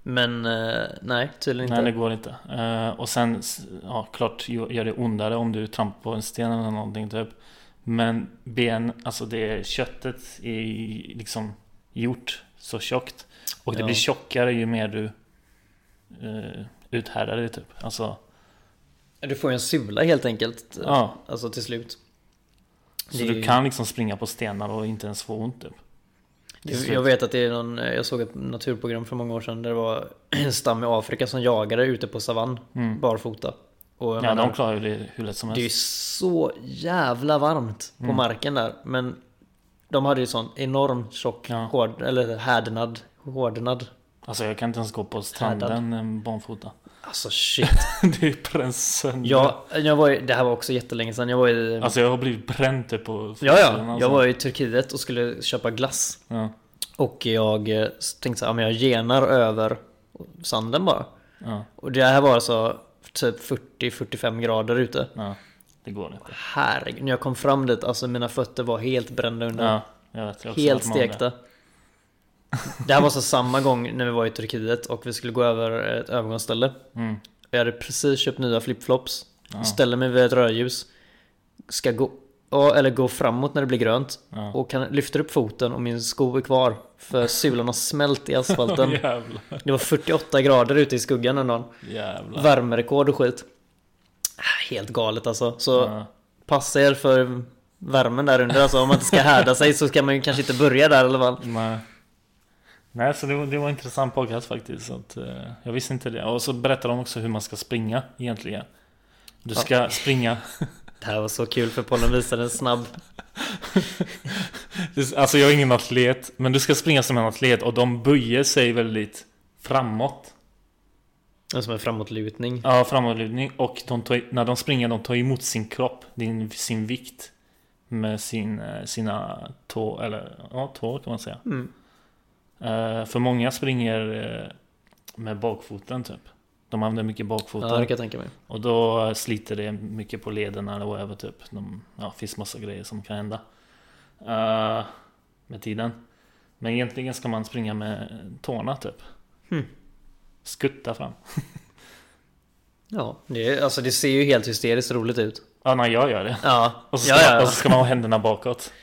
Speaker 3: men eh, nej tydligen
Speaker 2: Nej,
Speaker 3: inte.
Speaker 2: det går inte. Eh, och sen, s- ja, klart ju- gör det ondare om du trampar på en sten eller någonting typ. Men ben, alltså det köttet är ju liksom gjort så tjockt. Och det
Speaker 3: Ja.
Speaker 2: blir tjockare ju mer du uh, uthärdar det typ. Alltså,
Speaker 3: Du får ju en sula helt enkelt.
Speaker 2: ja.
Speaker 3: Alltså till slut.
Speaker 2: Så
Speaker 3: Det är
Speaker 2: du
Speaker 3: ju-
Speaker 2: kan liksom springa på stenar och inte ens få ont typ. Det är
Speaker 3: Det-
Speaker 2: slut.
Speaker 3: Jag vet att det är någon, eh, jag såg ett naturprogram för många år sedan där det var [clears throat] en stam i Afrika som jagade ute på savann
Speaker 2: Mm.
Speaker 3: barfota. Och jag
Speaker 2: Ja,
Speaker 3: menar,
Speaker 2: de klarar ju det hur lätt som
Speaker 3: det är ju
Speaker 2: helst.
Speaker 3: så jävla varmt på
Speaker 2: Mm.
Speaker 3: marken där. Men de hade ju sån enorm tjock
Speaker 2: Ja.
Speaker 3: hård, eller härdnad. Hårdnad.
Speaker 2: Alltså jag kan inte ens gå på stranden eh, barnfota. [laughs]
Speaker 3: Alltså shit.
Speaker 2: det är bränt sönder.
Speaker 3: [laughs] Jag, jag var ju, det här var också jättelänge sedan. Jag var i,
Speaker 2: Alltså jag har blivit bränd typ på
Speaker 3: ja,
Speaker 2: fotsidan,
Speaker 3: ja,
Speaker 2: alltså.
Speaker 3: jag var i Turkiet och skulle köpa glass.
Speaker 2: Ja,
Speaker 3: Och jag eh, tänkte så här, ja, men jag genar över sanden bara.
Speaker 2: ja,
Speaker 3: Och det här var alltså typ 40-45 grader ute.
Speaker 2: ja. Det går inte.
Speaker 3: Herregud, när jag kom fram dit, alltså mina fötter var helt brända under.
Speaker 2: Ja, jag vet. Jag har också
Speaker 3: helt
Speaker 2: varit med om det.
Speaker 3: stekta.
Speaker 2: [laughs]
Speaker 3: Det här var så samma gång när vi var i Turkiet och vi skulle gå över ett övergångsställe.
Speaker 2: Mm.
Speaker 3: Jag hade precis köpt nya flipflops.
Speaker 2: Ja,
Speaker 3: Ställer mig vid ett rödljus. Ska gå, ja, eller gå framåt när det blir grönt.
Speaker 2: ja.
Speaker 3: Och kan, lyfter upp foten och min sko är kvar. För sulan har smält
Speaker 2: [laughs]
Speaker 3: i asfalten.
Speaker 2: jävlar.
Speaker 3: Det var 48 grader ute i skuggan den dagen.
Speaker 2: Jävlar.
Speaker 3: Värmerekord och skit. Ah, Helt galet alltså. Så
Speaker 2: Ja.
Speaker 3: passa er för värmen där under. Alltså om man inte ska härda sig så ska man ju kanske inte börja där i alla fall.
Speaker 2: Nej. Nej, så det var, det var en intressant podcast faktiskt. Så att, eh, jag visste inte det. Och så berättar de också hur man ska springa egentligen. Du ska springa.
Speaker 3: Det här var så kul för pollen visade en snabb.
Speaker 2: Det- Alltså jag är ingen atlet, men du ska springa som en atlet och de böjer sig väldigt framåt.
Speaker 3: Det var Som en framåtlutning.
Speaker 2: Ja, framåtlutning. Och de tar, när de springer, de tar emot sin kropp, din, sin vikt. Med sin, eh, sina tå, eller ja, tå kan man säga.
Speaker 3: Mm.
Speaker 2: Eh, för många springer eh, med bakfoten typ. De använder mycket
Speaker 3: Ja
Speaker 2: bakfoten.
Speaker 3: det kan jag tänka mig.
Speaker 2: Och då eh, sliter det mycket på lederna eller whatever typ. De, ja, finns massa grejer som kan hända. Eh, med tiden. Men egentligen ska man springa med tårna typ.
Speaker 3: Hmm.
Speaker 2: Skutta fram.
Speaker 3: Ja, det, är- alltså det ser ju helt hysteriskt roligt ut.
Speaker 2: Ja, nej, jag gör det.
Speaker 3: Ja,
Speaker 2: Och så ska,
Speaker 3: ja, ja.
Speaker 2: Och så ska man ha händerna
Speaker 3: [laughs]
Speaker 2: bakåt.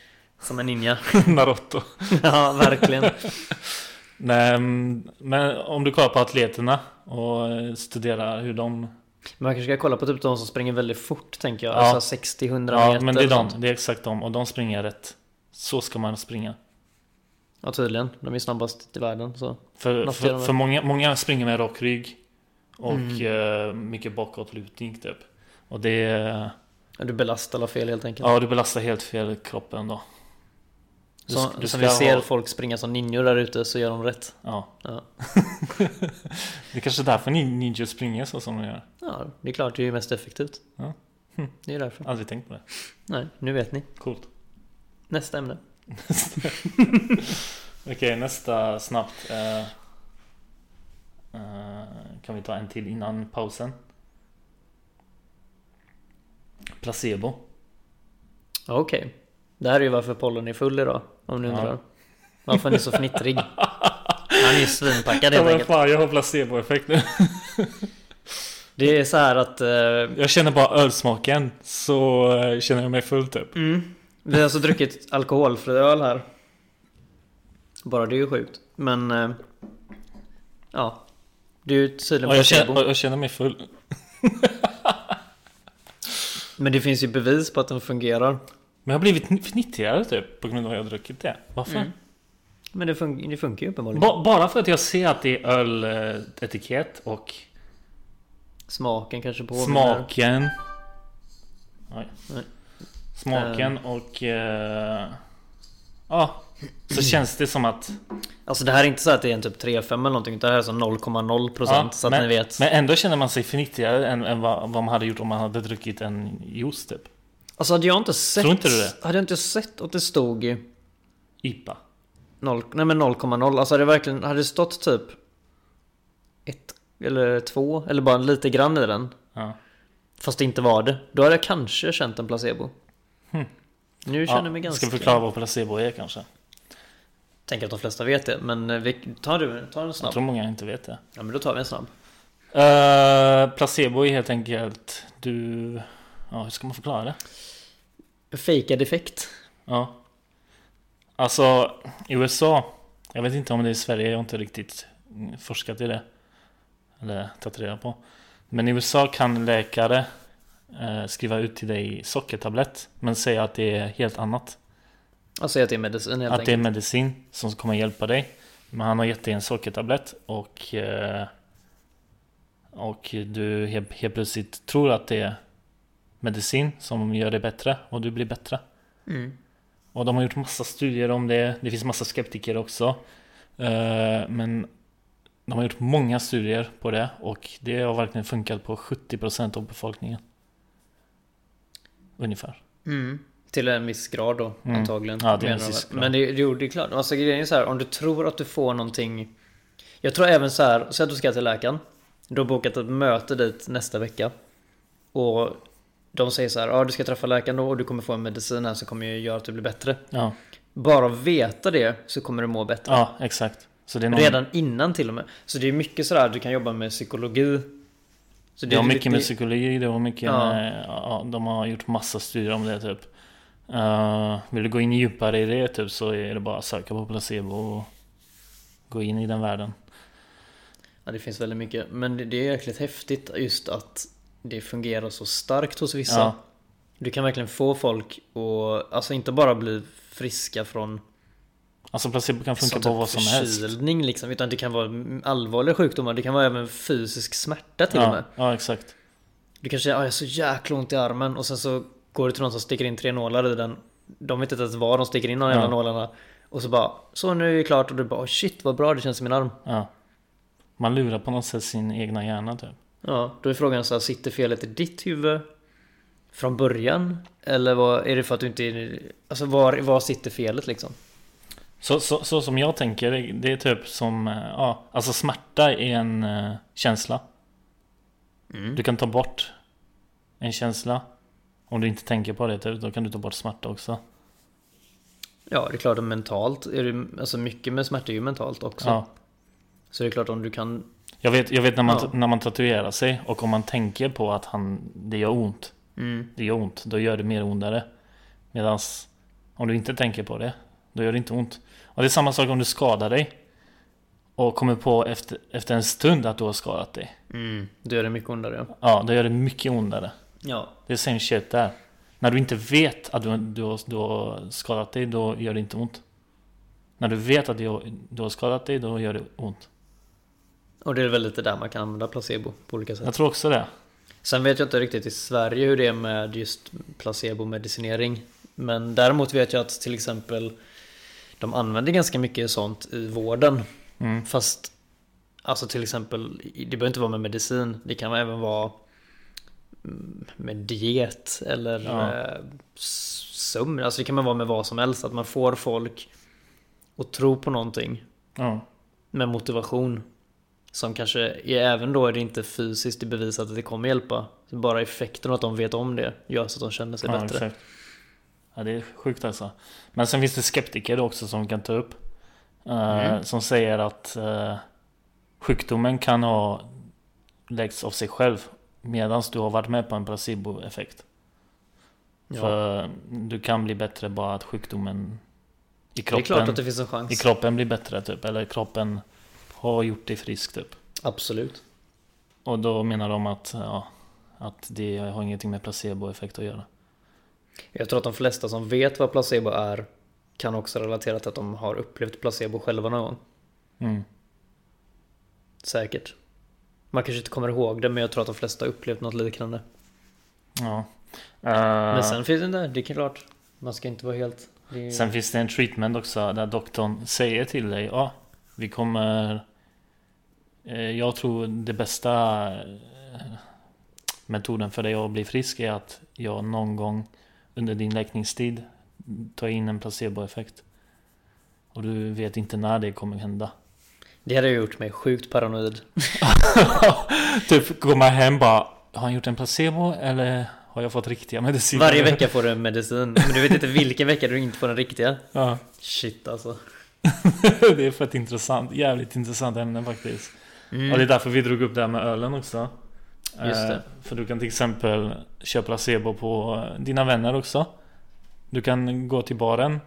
Speaker 3: Som
Speaker 2: [laughs]
Speaker 3: en ninja.
Speaker 2: Narotto.
Speaker 3: ja, [laughs] verkligen.
Speaker 2: Nej, mm, men om du kollar på atleterna och eh, studerar hur de...
Speaker 3: Man kanske ska kolla på typ de som springer väldigt fort tänker jag.
Speaker 2: Ja.
Speaker 3: Alltså 60-100
Speaker 2: Ja,
Speaker 3: meter.
Speaker 2: men det är
Speaker 3: och
Speaker 2: de.
Speaker 3: sånt.
Speaker 2: Det är exakt de. Och de springer rätt. Så ska man springa.
Speaker 3: Ja, tydligen. De är snabbast i världen så.
Speaker 2: För,
Speaker 3: Något
Speaker 2: för,
Speaker 3: fel.
Speaker 2: för många, många springer med rak rygg och
Speaker 3: Mm.
Speaker 2: eh, mycket bakåtlutning typ. Och det, eh,
Speaker 3: Ja, Du belastar alla fel helt enkelt.
Speaker 2: ja du belastar helt fel kroppen då. Du
Speaker 3: så,
Speaker 2: sk- du
Speaker 3: som
Speaker 2: ska
Speaker 3: vi ser
Speaker 2: ha-
Speaker 3: folk springa som ninjor där ute så gör de rätt.
Speaker 2: Ja.
Speaker 3: Ja.
Speaker 2: [laughs] det är kanske är därför ni ninjor springer så som de gör.
Speaker 3: Ja, det är klart. Det är ju mest effektivt.
Speaker 2: Ja. [laughs] Hm.
Speaker 3: Det är ju därför.
Speaker 2: Aldrig tänkt på det.
Speaker 3: Nej, nu vet ni.
Speaker 2: Coolt.
Speaker 3: Nästa ämne.
Speaker 2: [laughs] Okej, nästa snabbt. eh, eh, kan vi ta en till innan pausen? Placebo.
Speaker 3: Ja, Okej. Det här är ju varför pollen är full idag. Om ni
Speaker 2: Ja.
Speaker 3: undrar. Varför han är
Speaker 2: [laughs]
Speaker 3: så fnittrig. Han är ju svinpackad
Speaker 2: Ja,
Speaker 3: helt
Speaker 2: men
Speaker 3: enkelt.
Speaker 2: fan, jag har placeboeffekt nu.
Speaker 3: Det är så här att... Eh,
Speaker 2: Jag känner bara ölsmaken så eh, känner jag mig full typ.
Speaker 3: Mm. Vi har alltså druckit alkoholfri öl här. Bara det är ju sjukt. Men... eh, Ja. Det är ju tydligen
Speaker 2: Ja, jag,
Speaker 3: placebo.
Speaker 2: känner, jag känner mig full.
Speaker 3: Men det finns ju bevis på att den fungerar.
Speaker 2: Men jag har blivit fn- fnittrigare typ på grund av att jag har druckit det. Varför?
Speaker 3: Mm. Men det, fun- det funkar ju uppenbarligen.
Speaker 2: Ba- bara för att jag ser att det är öletikett och
Speaker 3: Smaken kanske påminner.
Speaker 2: smaken. Oj.
Speaker 3: Nej. Ehm.
Speaker 2: Smaken och... eh, Ja, så
Speaker 3: Mm.
Speaker 2: känns det som att...
Speaker 3: Alltså det här är inte så att det är en typ 3-5 eller någonting. utan Det här är så 0,0%
Speaker 2: Ja,
Speaker 3: så att
Speaker 2: men-
Speaker 3: ni vet.
Speaker 2: Men ändå känner man sig fnittrigare än, än vad, vad man hade gjort om man hade druckit en juice typ.
Speaker 3: Alltså hade jag inte sett...
Speaker 2: Tror inte du det?
Speaker 3: Hade jag inte sett att det stod i
Speaker 2: IPA.
Speaker 3: 0, nej men 0,0. Alltså hade det verkligen, hade det stått typ 1 eller 2 eller bara lite grann i den.
Speaker 2: Ja.
Speaker 3: Fast det inte var det. Då hade jag kanske känt en placebo. Nu känner jag mig ganska...
Speaker 2: Hm. Ska förklara vad placebo är kanske.
Speaker 3: Tänk att de flesta vet det, men eh, vi tar, du, tar en
Speaker 2: Jag
Speaker 3: snabb.
Speaker 2: tror många inte vet det.
Speaker 3: Ja men då tar vi en snabb.
Speaker 2: Eh, placebo är helt enkelt du... Ja, hur ska man förklara det?
Speaker 3: Fejkad effekt.
Speaker 2: Ja. Alltså, i USA. Jag vet inte om det är i Sverige, jag har inte riktigt mm, forskat i det. Eller tagit reda på. Men i USA kan läkare eh, skriva ut till dig sockertablett. Men säga att det är helt annat.
Speaker 3: Alltså att det är medicin helt
Speaker 2: att det är
Speaker 3: enkelt.
Speaker 2: medicin som kommer hjälpa dig. Men han har gett dig en sockertablett och... eh, Och du helt, helt plötsligt tror att det är medicin som gör dig bättre och du blir bättre.
Speaker 3: Mm.
Speaker 2: Och de har gjort massa studier om det. Det finns massa skeptiker också. Eh, Men de har gjort många studier på det och det har verkligen funkat på 70% av befolkningen. Ungefär.
Speaker 3: Mm. Till en viss grad då
Speaker 2: Mm.
Speaker 3: antagligen.
Speaker 2: Ja, det är en
Speaker 3: menar de
Speaker 2: viss
Speaker 3: väl.
Speaker 2: grad.
Speaker 3: Men det, jo, det är klart. Alltså grejen är så här, om du tror att du får någonting. Jag tror även så här, säg att du ska till läkaren. Du har bokat ett möte dit nästa vecka. Och de säger så här, ja du ska träffa läkaren då och du kommer få en medicin här som kommer ju göra att du blir bättre.
Speaker 2: Ja,
Speaker 3: Bara att veta det så kommer du må bättre.
Speaker 2: ja exakt. Så det är någon,
Speaker 3: Redan innan till och med. Så det är mycket sådär, du kan jobba med psykologi. Så
Speaker 2: det har mycket med
Speaker 3: det-
Speaker 2: psykologi, det har mycket
Speaker 3: Ja.
Speaker 2: med, ja, De har gjort massa studier om det typ. Eh, vill du gå in djupare i det typ så är det bara att söka på placebo och gå in i den världen.
Speaker 3: Ja, det finns väldigt mycket. Men det- det är jäkligt häftigt just att det fungerar så starkt hos vissa.
Speaker 2: Ja.
Speaker 3: Du kan verkligen få folk att, alltså inte bara bli friska från
Speaker 2: Alltså placebo kan funka
Speaker 3: sån
Speaker 2: på
Speaker 3: typ
Speaker 2: vad som helst.
Speaker 3: förkylning liksom. Utan det kan vara allvarliga sjukdomar. Det kan vara även fysisk smärta till och
Speaker 2: Ja,
Speaker 3: med.
Speaker 2: ja, exakt.
Speaker 3: Du kanske säger "Ah, jag har så jäkla ont i armen och sen så går du till någon som sticker in tre nålar i den. De vet inte ens var de sticker in de jävla
Speaker 2: Ja.
Speaker 3: nålarna. Och så bara, så nu är det klart och du bara "Oh, shit vad bra det känns i min arm.
Speaker 2: Ja. Man lurar på något sätt sin egna hjärna typ.
Speaker 3: Ja, då är frågan så här, sitter felet i ditt huvud från början? Eller vad, är det för att du inte är... Alltså var, var sitter felet liksom?
Speaker 2: Så, så, så som jag tänker, det- det är typ som, eh, ja, alltså smärta är en eh, känsla.
Speaker 3: Mm.
Speaker 2: Du kan ta bort en känsla. Om du inte tänker på det, typ, då kan du ta bort smärta också.
Speaker 3: Ja, det är klart att mentalt, är det, alltså mycket med smärta är ju mentalt också.
Speaker 2: Ja.
Speaker 3: Så det är klart om du kan,
Speaker 2: Jag vet, jag vet när, man,
Speaker 3: Ja.
Speaker 2: när man tatuerar sig och om man tänker på att han, det gör ont, det gör ont, då gör det mer ondare. Medan om du inte tänker på det, då gör det inte ont. Och det är samma sak om du skadar dig och kommer på efter, efter en stund att du har skadat dig.
Speaker 3: då gör det mycket ondare.
Speaker 2: Ja, då gör det mycket ondare.
Speaker 3: Ja.
Speaker 2: Det är same shit där. När du inte vet att du, du, har, du har skadat dig, då gör det inte ont. När du vet att du, har- du har skadat dig, då gör det ont.
Speaker 3: Och det är väl lite där man kan använda placebo på olika sätt.
Speaker 2: Jag tror också det.
Speaker 3: Sen vet jag inte riktigt i Sverige hur det är med just placebomedicinering. Men däremot vet jag att till exempel de använder ganska mycket sånt i vården.
Speaker 2: Mm.
Speaker 3: Fast alltså till exempel, det behöver inte vara med medicin. Det kan även vara mm, med diet eller
Speaker 2: Ja.
Speaker 3: eh, s- sömn. Alltså det kan man vara med vad som helst. Att man får folk att tro på någonting
Speaker 2: Ja.
Speaker 3: med motivation. Som kanske, är, även då är det inte fysiskt bevisat att det kommer hjälpa. Bara effekten och att de vet om det gör så att de känner sig bättre.
Speaker 2: exakt. Ja, det är sjukt alltså. Men sen finns det skeptiker också som kan ta upp. eh,
Speaker 3: Mm.
Speaker 2: Som säger att eh, sjukdomen kan ha läkts av sig själv medan du har varit med på en placeboeffekt.
Speaker 3: Ja.
Speaker 2: För du kan bli bättre bara att sjukdomen i
Speaker 3: Det är
Speaker 2: kroppen,
Speaker 3: klart att det finns en
Speaker 2: i
Speaker 3: chans.
Speaker 2: kroppen blir bättre typ. Eller kroppen har gjort dig frisk typ.
Speaker 3: Absolut.
Speaker 2: Och då menar de att, ja, att det har ingenting med placeboeffekt att göra.
Speaker 3: Jag tror att de flesta som vet vad placebo är kan också relatera till att de har upplevt placebo själva någon gång.
Speaker 2: Mm.
Speaker 3: Säkert. Man kanske inte kommer ihåg det men jag tror att de flesta har upplevt något liknande.
Speaker 2: Ja. Eh,
Speaker 3: Men sen finns det där, det är klart. Man ska inte vara helt... Det är...
Speaker 2: Sen finns det en treatment också där doktorn säger till dig Ja, vi kommer eh, Jag tror det bästa eh, metoden för dig att bli frisk är att jag någon gång under din läkningstid tar in en placeboeffekt. Och du vet inte när det kommer
Speaker 3: [laughs]
Speaker 2: hända.
Speaker 3: Det hade ju gjort mig sjukt paranoid.
Speaker 2: typ går man hem bara Har han gjort en placebo eller har jag fått riktiga mediciner?
Speaker 3: Varje vecka får du en medicin. Men du vet inte vilken vecka du inte får den riktiga.
Speaker 2: [laughs] Ja. [laughs]
Speaker 3: Shit alltså.
Speaker 2: det är fett intressant. Jävligt intressant ämne faktiskt. Och det är därför vi drog upp det här med ölen också.
Speaker 3: Just det.
Speaker 2: Eh, För du kan till exempel köpa placebo på eh, dina vänner också. Du kan gå till baren,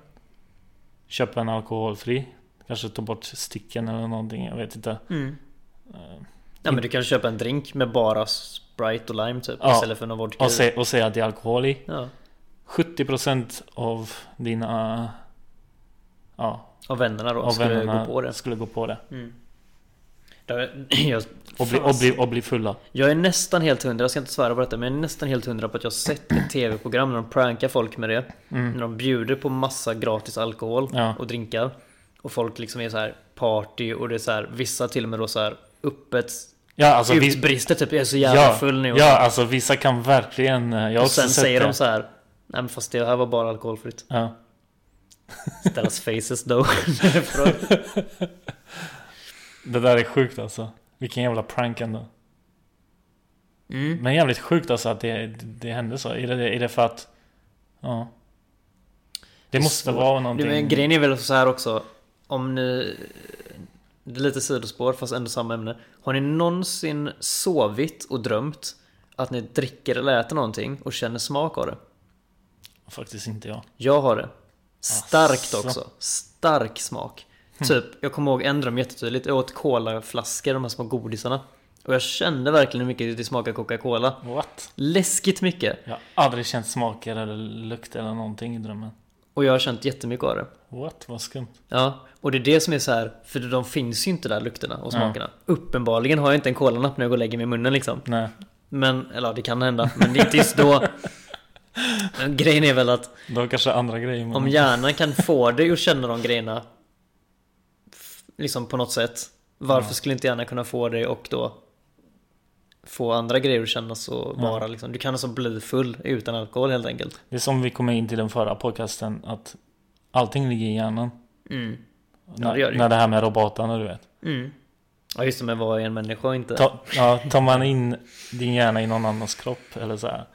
Speaker 2: köpa en alkoholfri, kanske ta bort sticken eller någonting, jag vet inte. Eh,
Speaker 3: Ja men du kan köpa en drink med bara Sprite och lime typ
Speaker 2: Ja.
Speaker 3: istället för någon vodka i.
Speaker 2: Och, se, och säga att det är alkohol i.
Speaker 3: ja.
Speaker 2: 70% av dina... Ja,
Speaker 3: Och vännerna då,
Speaker 2: av
Speaker 3: skulle
Speaker 2: vännerna
Speaker 3: gå på det.
Speaker 2: skulle gå på det.
Speaker 3: Mm. Då- [clears throat] Jag,
Speaker 2: Och bli, och bli, och bli fulla.
Speaker 3: jag är nästan helt hundra, jag ska inte svära på detta, men jag är nästan helt hundra på att jag har
Speaker 2: [clears throat]
Speaker 3: sett ett tv-program när de prankar folk med det. När de bjuder på massa gratis alkohol
Speaker 2: Mm. Ja.
Speaker 3: och drinkar. Och folk liksom är så här party och det är så här, vissa till och med då så här öppet
Speaker 2: Ja, alltså, vi,
Speaker 3: utbrister typ, jag är så jävla full nu.
Speaker 2: Ja, alltså vissa kan verkligen... eh, Jag har
Speaker 3: och
Speaker 2: också
Speaker 3: sen
Speaker 2: sett
Speaker 3: säger
Speaker 2: det.
Speaker 3: de så här, nej men fast det här var
Speaker 2: [laughs]
Speaker 3: bara alkoholfritt.
Speaker 2: Ja.
Speaker 3: Deras faces though.
Speaker 2: Det där är sjukt alltså. Vilken jävla prank ändå.
Speaker 3: [laughs] Mm.
Speaker 2: Men jävligt sjukt alltså att det, det hände så. Är det, är det för att... Ja. Det,
Speaker 3: är
Speaker 2: måste
Speaker 3: svårt.
Speaker 2: vara
Speaker 3: Du,
Speaker 2: någonting.
Speaker 3: men grejen är väl så här också. Om ni... Det är lite sidospår fast ändå samma ämne. Har ni någonsin sovit och drömt att ni dricker eller äter någonting och känner smak av det?
Speaker 2: Faktiskt inte jag.
Speaker 3: Jag har
Speaker 2: Ah,
Speaker 3: det. Starkt
Speaker 2: Asså.
Speaker 3: också. Stark smak.
Speaker 2: Hm.
Speaker 3: Typ, jag kommer ihåg en dröm jättetydligt. Jag åt colaflaskor, de här små godisarna. Och jag kände verkligen hur mycket det smakade Coca-Cola.
Speaker 2: What?
Speaker 3: Läskigt mycket.
Speaker 2: Jag har aldrig känt smaker eller lukt eller någonting i drömmen.
Speaker 3: Och jag har känt jättemycket av det.
Speaker 2: What? Vad skumt.
Speaker 3: Ja, och det är det som är så här, för de finns ju inte där lukterna och smakerna. Uppenbarligen har jag inte en kolanapp när jag går och lägger mig i munnen liksom.
Speaker 2: Nej.
Speaker 3: Men, eller ja, det kan hända, men det är inte just [laughs] då. Men grejen är väl att
Speaker 2: Du har kanske andra grejer men...
Speaker 3: om hjärnan kan få dig att känna de grejerna f- liksom på något sätt. Varför skulle inte hjärnan kunna få dig och då få andra grejer att kännas och vara liksom. Du kan alltså bli full utan alkohol helt enkelt.
Speaker 2: Det är som vi kom in till den förra podcasten. Att allting ligger i hjärnan.
Speaker 3: Mm.
Speaker 2: när,
Speaker 3: det gör det ju.
Speaker 2: när det här med robotarna du vet.
Speaker 3: Mm. Ja just det, men vad är en människa och inte?
Speaker 2: Ta, ja, tar man in din hjärna i någon annans kropp eller så här.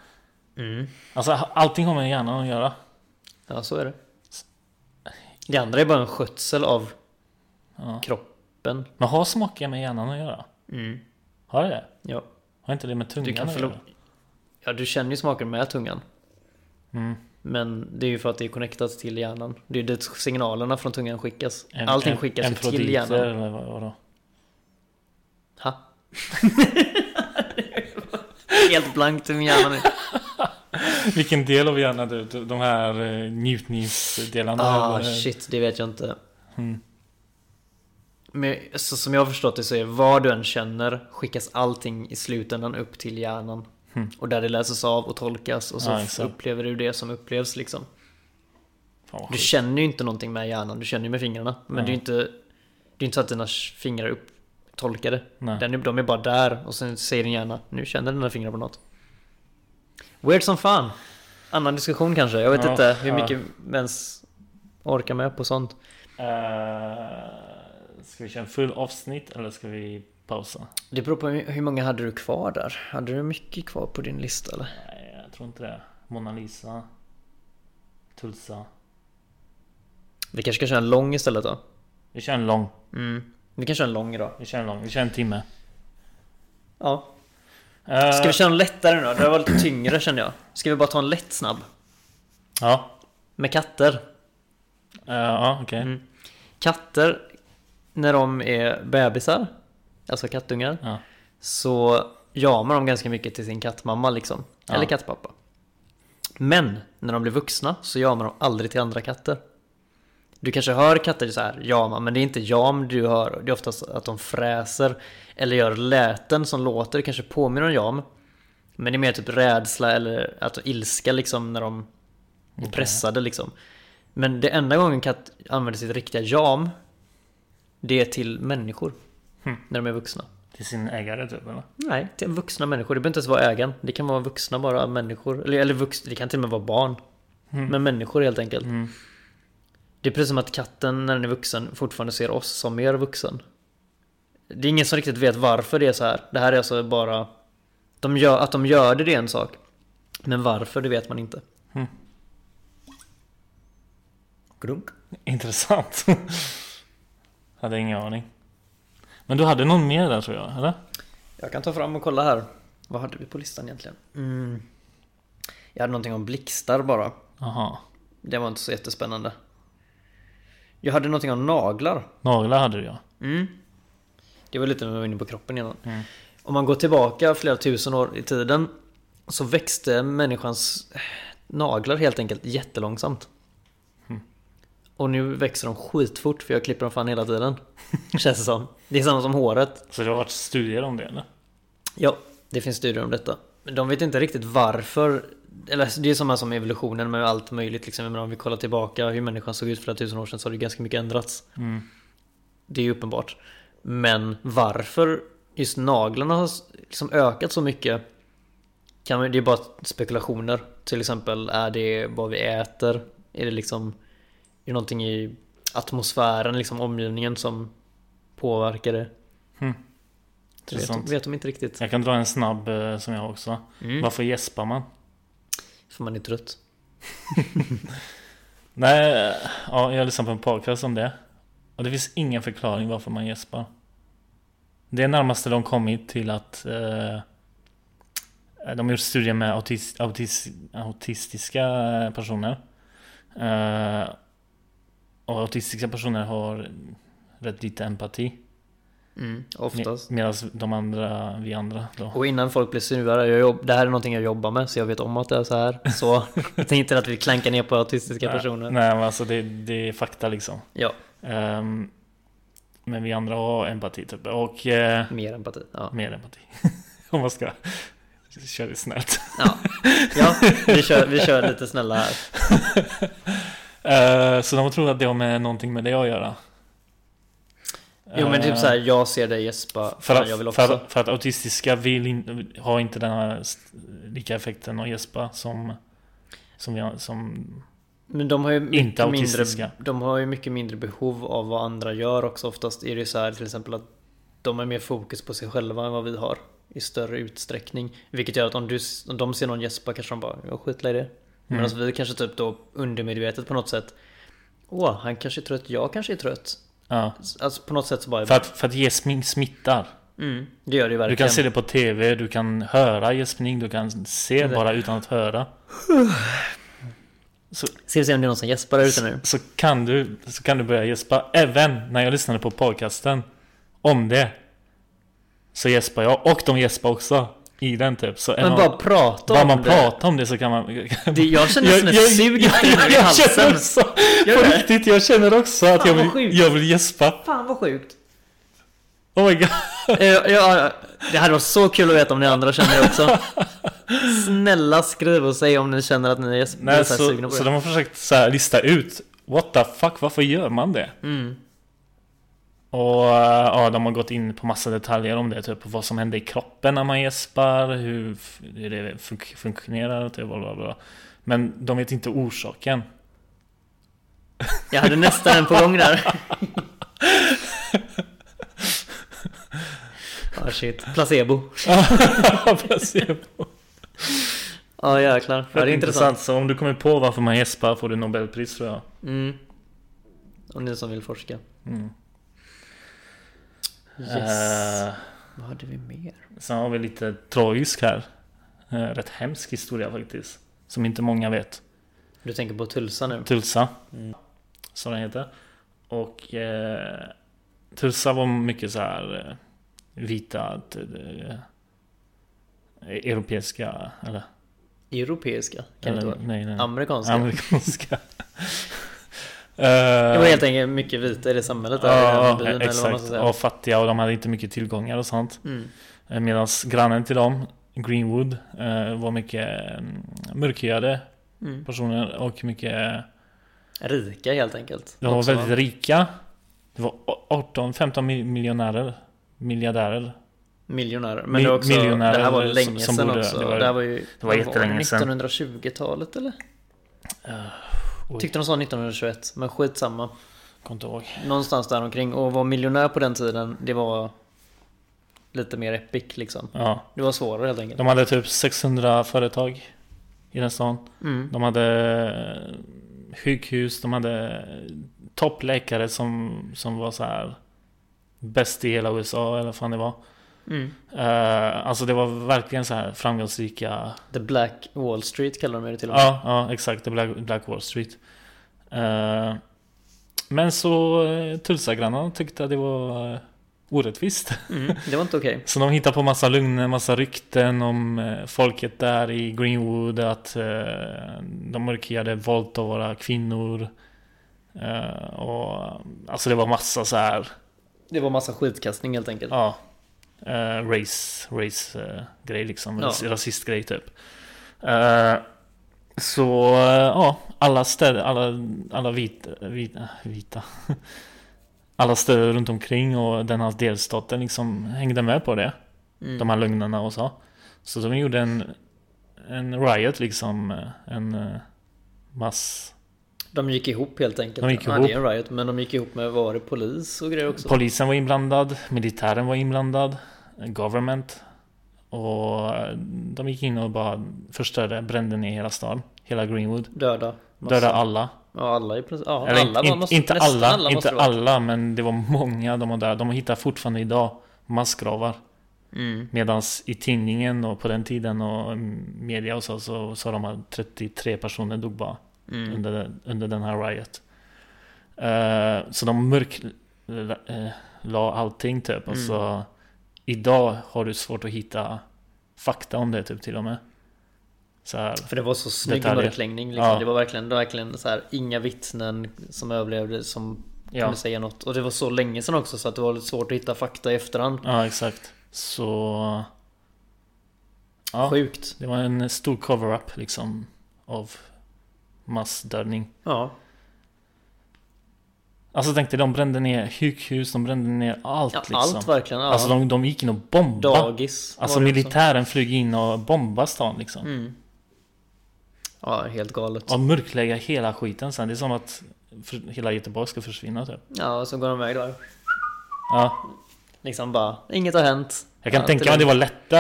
Speaker 3: Mm.
Speaker 2: Alltså allting har med hjärnan att göra.
Speaker 3: Ja, så är det. Det andra är bara en skötsel av
Speaker 2: Ja.
Speaker 3: kroppen.
Speaker 2: Men har smaken med hjärnan att göra?
Speaker 3: Mm.
Speaker 2: Har det det?
Speaker 3: Ja.
Speaker 2: Har inte det med tungan
Speaker 3: Du kan
Speaker 2: att
Speaker 3: förlora...
Speaker 2: göra?
Speaker 3: Ja, du känner ju smaken med tungan.
Speaker 2: Mm.
Speaker 3: Men det är ju för att det är connectat till hjärnan. Det är ju dit signalerna från tungan skickas.
Speaker 2: En-
Speaker 3: Allting
Speaker 2: en-
Speaker 3: skickas ju till
Speaker 2: enfroditer
Speaker 3: hjärnan.
Speaker 2: Eller vad, vadå?
Speaker 3: Ha? [laughs] Helt blankt i min hjärna nu.
Speaker 2: Vilken del av hjärnan du, du- de här eh, njutningsdelarna? eh,
Speaker 3: Ah
Speaker 2: eller-
Speaker 3: shit, det vet jag inte.
Speaker 2: Mm.
Speaker 3: Men så, som jag har förstått det så är vad du än känner skickas allting i slutändan upp till hjärnan.
Speaker 2: Hmm.
Speaker 3: Och där det läses av och tolkas och så
Speaker 2: Ja, exakt.
Speaker 3: upplever du det som upplevs liksom.
Speaker 2: Fan, vad
Speaker 3: Du
Speaker 2: sjukt.
Speaker 3: känner ju inte någonting med hjärnan, du känner ju med fingrarna. Men
Speaker 2: Ja.
Speaker 3: det är ju inte, det är inte så att dina fingrar är upptolkade.
Speaker 2: Nej.
Speaker 3: Den är, de är bara där och sen säger din hjärna nu känner dina fingrar på något. Weird som fan. Annan diskussion kanske. Jag vet
Speaker 2: Ja,
Speaker 3: inte hur
Speaker 2: ja.
Speaker 3: mycket vi ens orkar med på sånt.
Speaker 2: Eh, ska vi köra en full avsnitt eller ska vi pausa?
Speaker 3: Det beror på hur hur många hade du kvar där? Hade du mycket kvar på din lista eller?
Speaker 2: Nej, jag tror inte det. Mona Lisa. Tulsa.
Speaker 3: Vi kanske kan köra en lång istället då?
Speaker 2: Vi kör en lång.
Speaker 3: Mm. Vi kan köra en lång idag.
Speaker 2: Vi kör en lång. Vi kör en timme.
Speaker 3: Ja.
Speaker 2: Eh,
Speaker 3: Ska vi köra en lättare nu då? Det här var lite tyngre kände jag. Ska vi bara ta en lätt snabb?
Speaker 2: Ja.
Speaker 3: Med katter.
Speaker 2: Eh, ja, okej.
Speaker 3: Mm. Katter, när de är bebisar, alltså kattungar,
Speaker 2: Ja.
Speaker 3: så jamar de ganska mycket till sin kattmamma liksom.
Speaker 2: Ja.
Speaker 3: Eller kattpappa. Men när de blir vuxna så jamar de aldrig till andra katter. Du kanske hör katter så här jama, men det är inte jam du hör. Det är oftast att de fräser eller gör läten som låter, det kanske påminner om jam. Men det är mer typ rädsla eller att ilska liksom när de är pressade liksom. Men det enda gången katt använder sitt riktiga jam, det är till människor.
Speaker 2: Hmm.
Speaker 3: När de är vuxna.
Speaker 2: Till sin ägare typ eller?
Speaker 3: Nej, till vuxna människor. Det behöver inte ens vara ägaren. Det kan vara vuxna bara människor. Eller, eller vuxna, det kan till och med vara barn.
Speaker 2: Mm.
Speaker 3: Men människor helt enkelt.
Speaker 2: Mm.
Speaker 3: Det är precis som att katten när den är vuxen fortfarande ser oss som mer vuxen. Det är ingen som riktigt vet varför det är så här. Det här är alltså bara... De gör, att de gör det, det är en sak. Men varför, det vet man inte.
Speaker 2: Mm.
Speaker 3: Grunk.
Speaker 2: Intressant. [laughs] hade ingen aning. Men du hade någon mer där tror jag, eller?
Speaker 3: Jag kan ta fram och kolla här. Vad hade vi på listan egentligen? Mm. Jag hade någonting om blixtar bara.
Speaker 2: Jaha.
Speaker 3: Det var inte så jättespännande. Jag hade någonting om naglar.
Speaker 2: Naglar hade du ja.
Speaker 3: Mm. Det var lite när vi var inne på kroppen innan. Om man går tillbaka flera tusen år i tiden så växte människans eh, naglar helt enkelt jättelångsamt. Och nu växer de skitfort för jag klipper dem fan hela tiden. [laughs] Känns det som. Det är samma som håret.
Speaker 2: Så det har varit studier om det eller?
Speaker 3: Ja, det finns studier om detta. Men de vet inte riktigt varför. Eller det är samma som evolutionen med allt möjligt. Liksom. Men om vi kollar tillbaka hur människan såg ut för flera tusen år sedan så har det ganska mycket ändrats.
Speaker 2: Mm.
Speaker 3: Det är ju uppenbart. Men varför just naglarna har liksom ökat så mycket kan man, det är bara spekulationer. Till exempel, är det vad vi äter? Är det liksom är det någonting i atmosfären, liksom omgivningen som påverkar det?
Speaker 2: Hmm.
Speaker 3: Det vet, de-
Speaker 2: Intressant.
Speaker 3: vet de inte riktigt.
Speaker 2: Jag kan dra en snabb eh, som jag har också.
Speaker 3: Mm.
Speaker 2: Varför gäspar man?
Speaker 3: För man är trött.
Speaker 2: Nej, eh, ja, jag lyssnade på en podcast om det. Och det finns ingen förklaring varför man gäspar. Det är närmaste de kommit till att eh, de har gjort studier med autis, autis, autistiska eh, personer. Eh, och autistiska personer har rätt lite empati.
Speaker 3: Mm, oftast.
Speaker 2: Medan de andra, vi andra då.
Speaker 3: Och innan folk blir sura, jag jobb, det här är någonting jag jobbar med så jag vet om att det är så
Speaker 2: [laughs]
Speaker 3: här. Så jag tänkte att vi klankar ner på autistiska personer.
Speaker 2: Nej men alltså det, det är fakta liksom.
Speaker 3: Ja,
Speaker 2: Ehm, men vi andra har empati typ. Och eh,
Speaker 3: mer empati. Ja,
Speaker 2: mer empati. [laughs] Om man ska köra det
Speaker 3: [laughs]
Speaker 2: snällt.
Speaker 3: ja. ja vi, kör, vi kör lite snälla här.
Speaker 2: Eh, så de tror att det har med någonting med det att göra.
Speaker 3: Jo men typ
Speaker 2: Eh,
Speaker 3: så här, jag ser dig Jespa,
Speaker 2: För
Speaker 3: fan, jag vill
Speaker 2: att, för,
Speaker 3: också.
Speaker 2: att, för att autistiska vill in, har inte den här st- lika effekten av gäspa som, som, vi, har- som...
Speaker 3: Men de har ju
Speaker 2: Inte
Speaker 3: mycket mindre,
Speaker 2: autistiska.
Speaker 3: de har ju mycket mindre behov av vad andra gör också. Oftast är det så här till exempel att de har mer fokus på sig själva än vad vi har i större utsträckning. Vilket gör att om, du, om de ser någon
Speaker 2: mm,
Speaker 3: alltså- gäspa kanske de bara, jag skitlar i det. Medan vi kanske typ då undermedvetet på något sätt Åh, han kanske är trött, jag kanske är trött.
Speaker 2: Ja.
Speaker 3: Alltså på något sätt så bara...
Speaker 2: För att, för att gäspning smittar.
Speaker 3: Mm, det gör det ju
Speaker 2: Du
Speaker 3: verkligen.
Speaker 2: kan se det på TV, du kan höra gäspning, du kan se bara utan att höra.
Speaker 3: Ska vi se om det är någon som gäspar där ute nu?
Speaker 2: Så kan du, så kan du börja gäspa. Även när jag lyssnade på podcasten om det. Så gäspar jag, och de gäspar också. I den typ. Så är
Speaker 3: Men
Speaker 2: man-
Speaker 3: bara prata
Speaker 2: bara
Speaker 3: om
Speaker 2: man
Speaker 3: det.
Speaker 2: pratar om det så kan man...
Speaker 3: det. Jag känner nästan ett sug i
Speaker 2: jag känner
Speaker 3: halsen.
Speaker 2: också,
Speaker 3: Gör
Speaker 2: på
Speaker 3: det?
Speaker 2: riktigt, jag känner också att
Speaker 3: Fan,
Speaker 2: jag
Speaker 3: vad
Speaker 2: vill,
Speaker 3: sjukt.
Speaker 2: jag vill gäspa.
Speaker 3: Fan vad sjukt.
Speaker 2: Oh my god.
Speaker 3: Eh, ja, det hade varit så kul att veta om ni andra känner det
Speaker 2: [laughs]
Speaker 3: också. Snälla skriv och säg om ni känner att ni är så här
Speaker 2: Nej,
Speaker 3: sugna
Speaker 2: så,
Speaker 3: på
Speaker 2: så
Speaker 3: det.
Speaker 2: de har försökt så här lista ut What the fuck, varför gör man det?
Speaker 3: Mm.
Speaker 2: Och eh, ja, de har gått in på massa detaljer om det, typ vad som händer i kroppen när man gäspar, hur f- hur det fun- funktionerar, typ, bla, bla, bla. Men de vet inte
Speaker 3: [laughs]
Speaker 2: orsaken. [laughs]
Speaker 3: Jag hade nästan en på
Speaker 2: [laughs]
Speaker 3: gång där. Ah shit, placebo.
Speaker 2: Placebo.
Speaker 3: Ja jäklar, ja, det är intressant.
Speaker 2: Så om du kommer på varför man gäspar får du Nobelpris tror jag.
Speaker 3: Mm. Och ni som vill forska.
Speaker 2: Mm.
Speaker 3: Yes.
Speaker 2: Eh,
Speaker 3: Vad hade vi mer?
Speaker 2: sen har vi lite tragisk här. Eh, rätt hemsk historia faktiskt. Som inte många vet.
Speaker 3: Du tänker på Tulsa nu?
Speaker 2: Tulsa.
Speaker 3: Mm.
Speaker 2: Som den heter. Och eh, Tulsa var mycket så här eh, vita t- eh, europeiska eller,
Speaker 3: Europeiska? Kan det inte
Speaker 2: eller
Speaker 3: vara?
Speaker 2: nej, nej.
Speaker 3: Amerikanska?
Speaker 2: amerikanska.
Speaker 3: [laughs] det var helt enkelt mycket vita i det samhället där. i den
Speaker 2: Eh, Ja,
Speaker 3: byn, eller vad man ska
Speaker 2: exakt.
Speaker 3: säga.
Speaker 2: Ja, fattiga och de hade inte mycket tillgångar och sånt.
Speaker 3: Mm.
Speaker 2: Medan grannen till dem, Greenwood, eh, var mycket mm, mörkhyade
Speaker 3: Mm.
Speaker 2: personer och mycket
Speaker 3: Rika helt enkelt.
Speaker 2: De var
Speaker 3: Också,
Speaker 2: väldigt rika. Det var 18-15 miljonärer. Miljardärer.
Speaker 3: Miljonärer. Men
Speaker 2: Mil-
Speaker 3: det, var också,
Speaker 2: miljonärer
Speaker 3: det här var
Speaker 2: som-
Speaker 3: länge
Speaker 2: som
Speaker 3: sedan
Speaker 2: bodde-
Speaker 3: också.
Speaker 2: det
Speaker 3: Det
Speaker 2: var-
Speaker 3: var, det här var ju
Speaker 2: det var
Speaker 3: vad
Speaker 2: jättelänge sedan.
Speaker 3: 1920-talet eller?
Speaker 2: Uh, oj.
Speaker 3: Tyckte de sa 1921, men skitsamma.
Speaker 2: Kommer inte ihåg.
Speaker 3: Någonstans där omkring. Och vara miljonär på den tiden, det var lite mer epic liksom.
Speaker 2: Ja.
Speaker 3: Det var svårare helt enkelt.
Speaker 2: De hade typ 600 företag i den stan.
Speaker 3: Mm.
Speaker 2: De hade eh, sjukhus, de hade toppläkare som, som var så här bäst i hela USA eller vad fan det var.
Speaker 3: Mm.
Speaker 2: Eh, alltså det var verkligen så här framgångsrika
Speaker 3: The Black Wall Street kallar de det till och med.
Speaker 2: Ja, ja exakt. Det är Black, Black Wall Street. Eh, men så uh, Tulsa-grannarna tyckte att det var eh, orättvist. [laughs]
Speaker 3: Mm. Det var inte okej.
Speaker 2: Så de hittade på massa lögner, massa rykten om eh, folket där i Greenwood. Att eh, de mörkhyade våldtog våra kvinnor. Eh, och, alltså det var massa så här
Speaker 3: Det var massa skitkastning helt enkelt.
Speaker 2: Ja. Eh, race, race eh, grej liksom.
Speaker 3: Ja.
Speaker 2: Ras- Rasistgrej typ. Eh, så eh, ja, alla städer, alla, alla vita, vita, vita. [laughs] Alla städer runt omkring och den här delstaten liksom hängde med på det.
Speaker 3: Mm.
Speaker 2: De här lögnerna och så. Så de gjorde en, en riot liksom. eh, En eh, mass...
Speaker 3: De gick ihop helt enkelt.
Speaker 2: De gick
Speaker 3: ja,
Speaker 2: ihop.
Speaker 3: Det är en riot, men de gick ihop med var det polis och grejer också.
Speaker 2: Polisen var inblandad, militären var inblandad, government. Och de gick in och bara förstörde, brände ner hela staden, hela Greenwood.
Speaker 3: Döda. massa.
Speaker 2: Dödade alla.
Speaker 3: Ja, alla i princip. Ja,
Speaker 2: Eller
Speaker 3: alla
Speaker 2: in,
Speaker 3: var- måste,
Speaker 2: inte
Speaker 3: nästan
Speaker 2: alla,
Speaker 3: alla måste
Speaker 2: inte
Speaker 3: det vara.
Speaker 2: alla, men det var många de var där. De hittar fortfarande idag massgravar.
Speaker 3: Mm.
Speaker 2: Medan i tidningen och på den tiden och media och så, så sa de att 33 personer dog bara
Speaker 3: Mm.
Speaker 2: under, under den här riot. Eh, så de mörk eh, la allting typ. Och
Speaker 3: Mm.
Speaker 2: så idag har du svårt att hitta fakta om det typ till och med. Så här,
Speaker 3: För det var så snygg
Speaker 2: Detaljer.
Speaker 3: mörkläggning. Liksom.
Speaker 2: Ja.
Speaker 3: Det var verkligen, det var verkligen så här, inga vittnen som överlevde som
Speaker 2: ja,
Speaker 3: kunde säga något. Och det var så länge sedan också så att det var lite svårt att hitta fakta i efterhand.
Speaker 2: ja, exakt. Så... Ja,
Speaker 3: Sjukt.
Speaker 2: det var en stor cover-up liksom av massdödning.
Speaker 3: Ja.
Speaker 2: Alltså tänkte de brände ner sjukhus, de brände ner allt
Speaker 3: ja
Speaker 2: liksom.
Speaker 3: Allt verkligen. Ja.
Speaker 2: Alltså de, de gick in och bombade.
Speaker 3: Dagis. var
Speaker 2: Alltså
Speaker 3: det liksom. också.
Speaker 2: militären flög in och bombade stan liksom.
Speaker 3: Mm. Ja, helt galet.
Speaker 2: Och mörklägga hela skiten sen. Det är som att för- hela Göteborg ska försvinna typ.
Speaker 3: Ja, och så går de iväg där.
Speaker 2: Ja.
Speaker 3: Liksom bara, inget har hänt.
Speaker 2: Jag kan
Speaker 3: Ja,
Speaker 2: tänka
Speaker 3: till
Speaker 2: mig att det
Speaker 3: den-
Speaker 2: var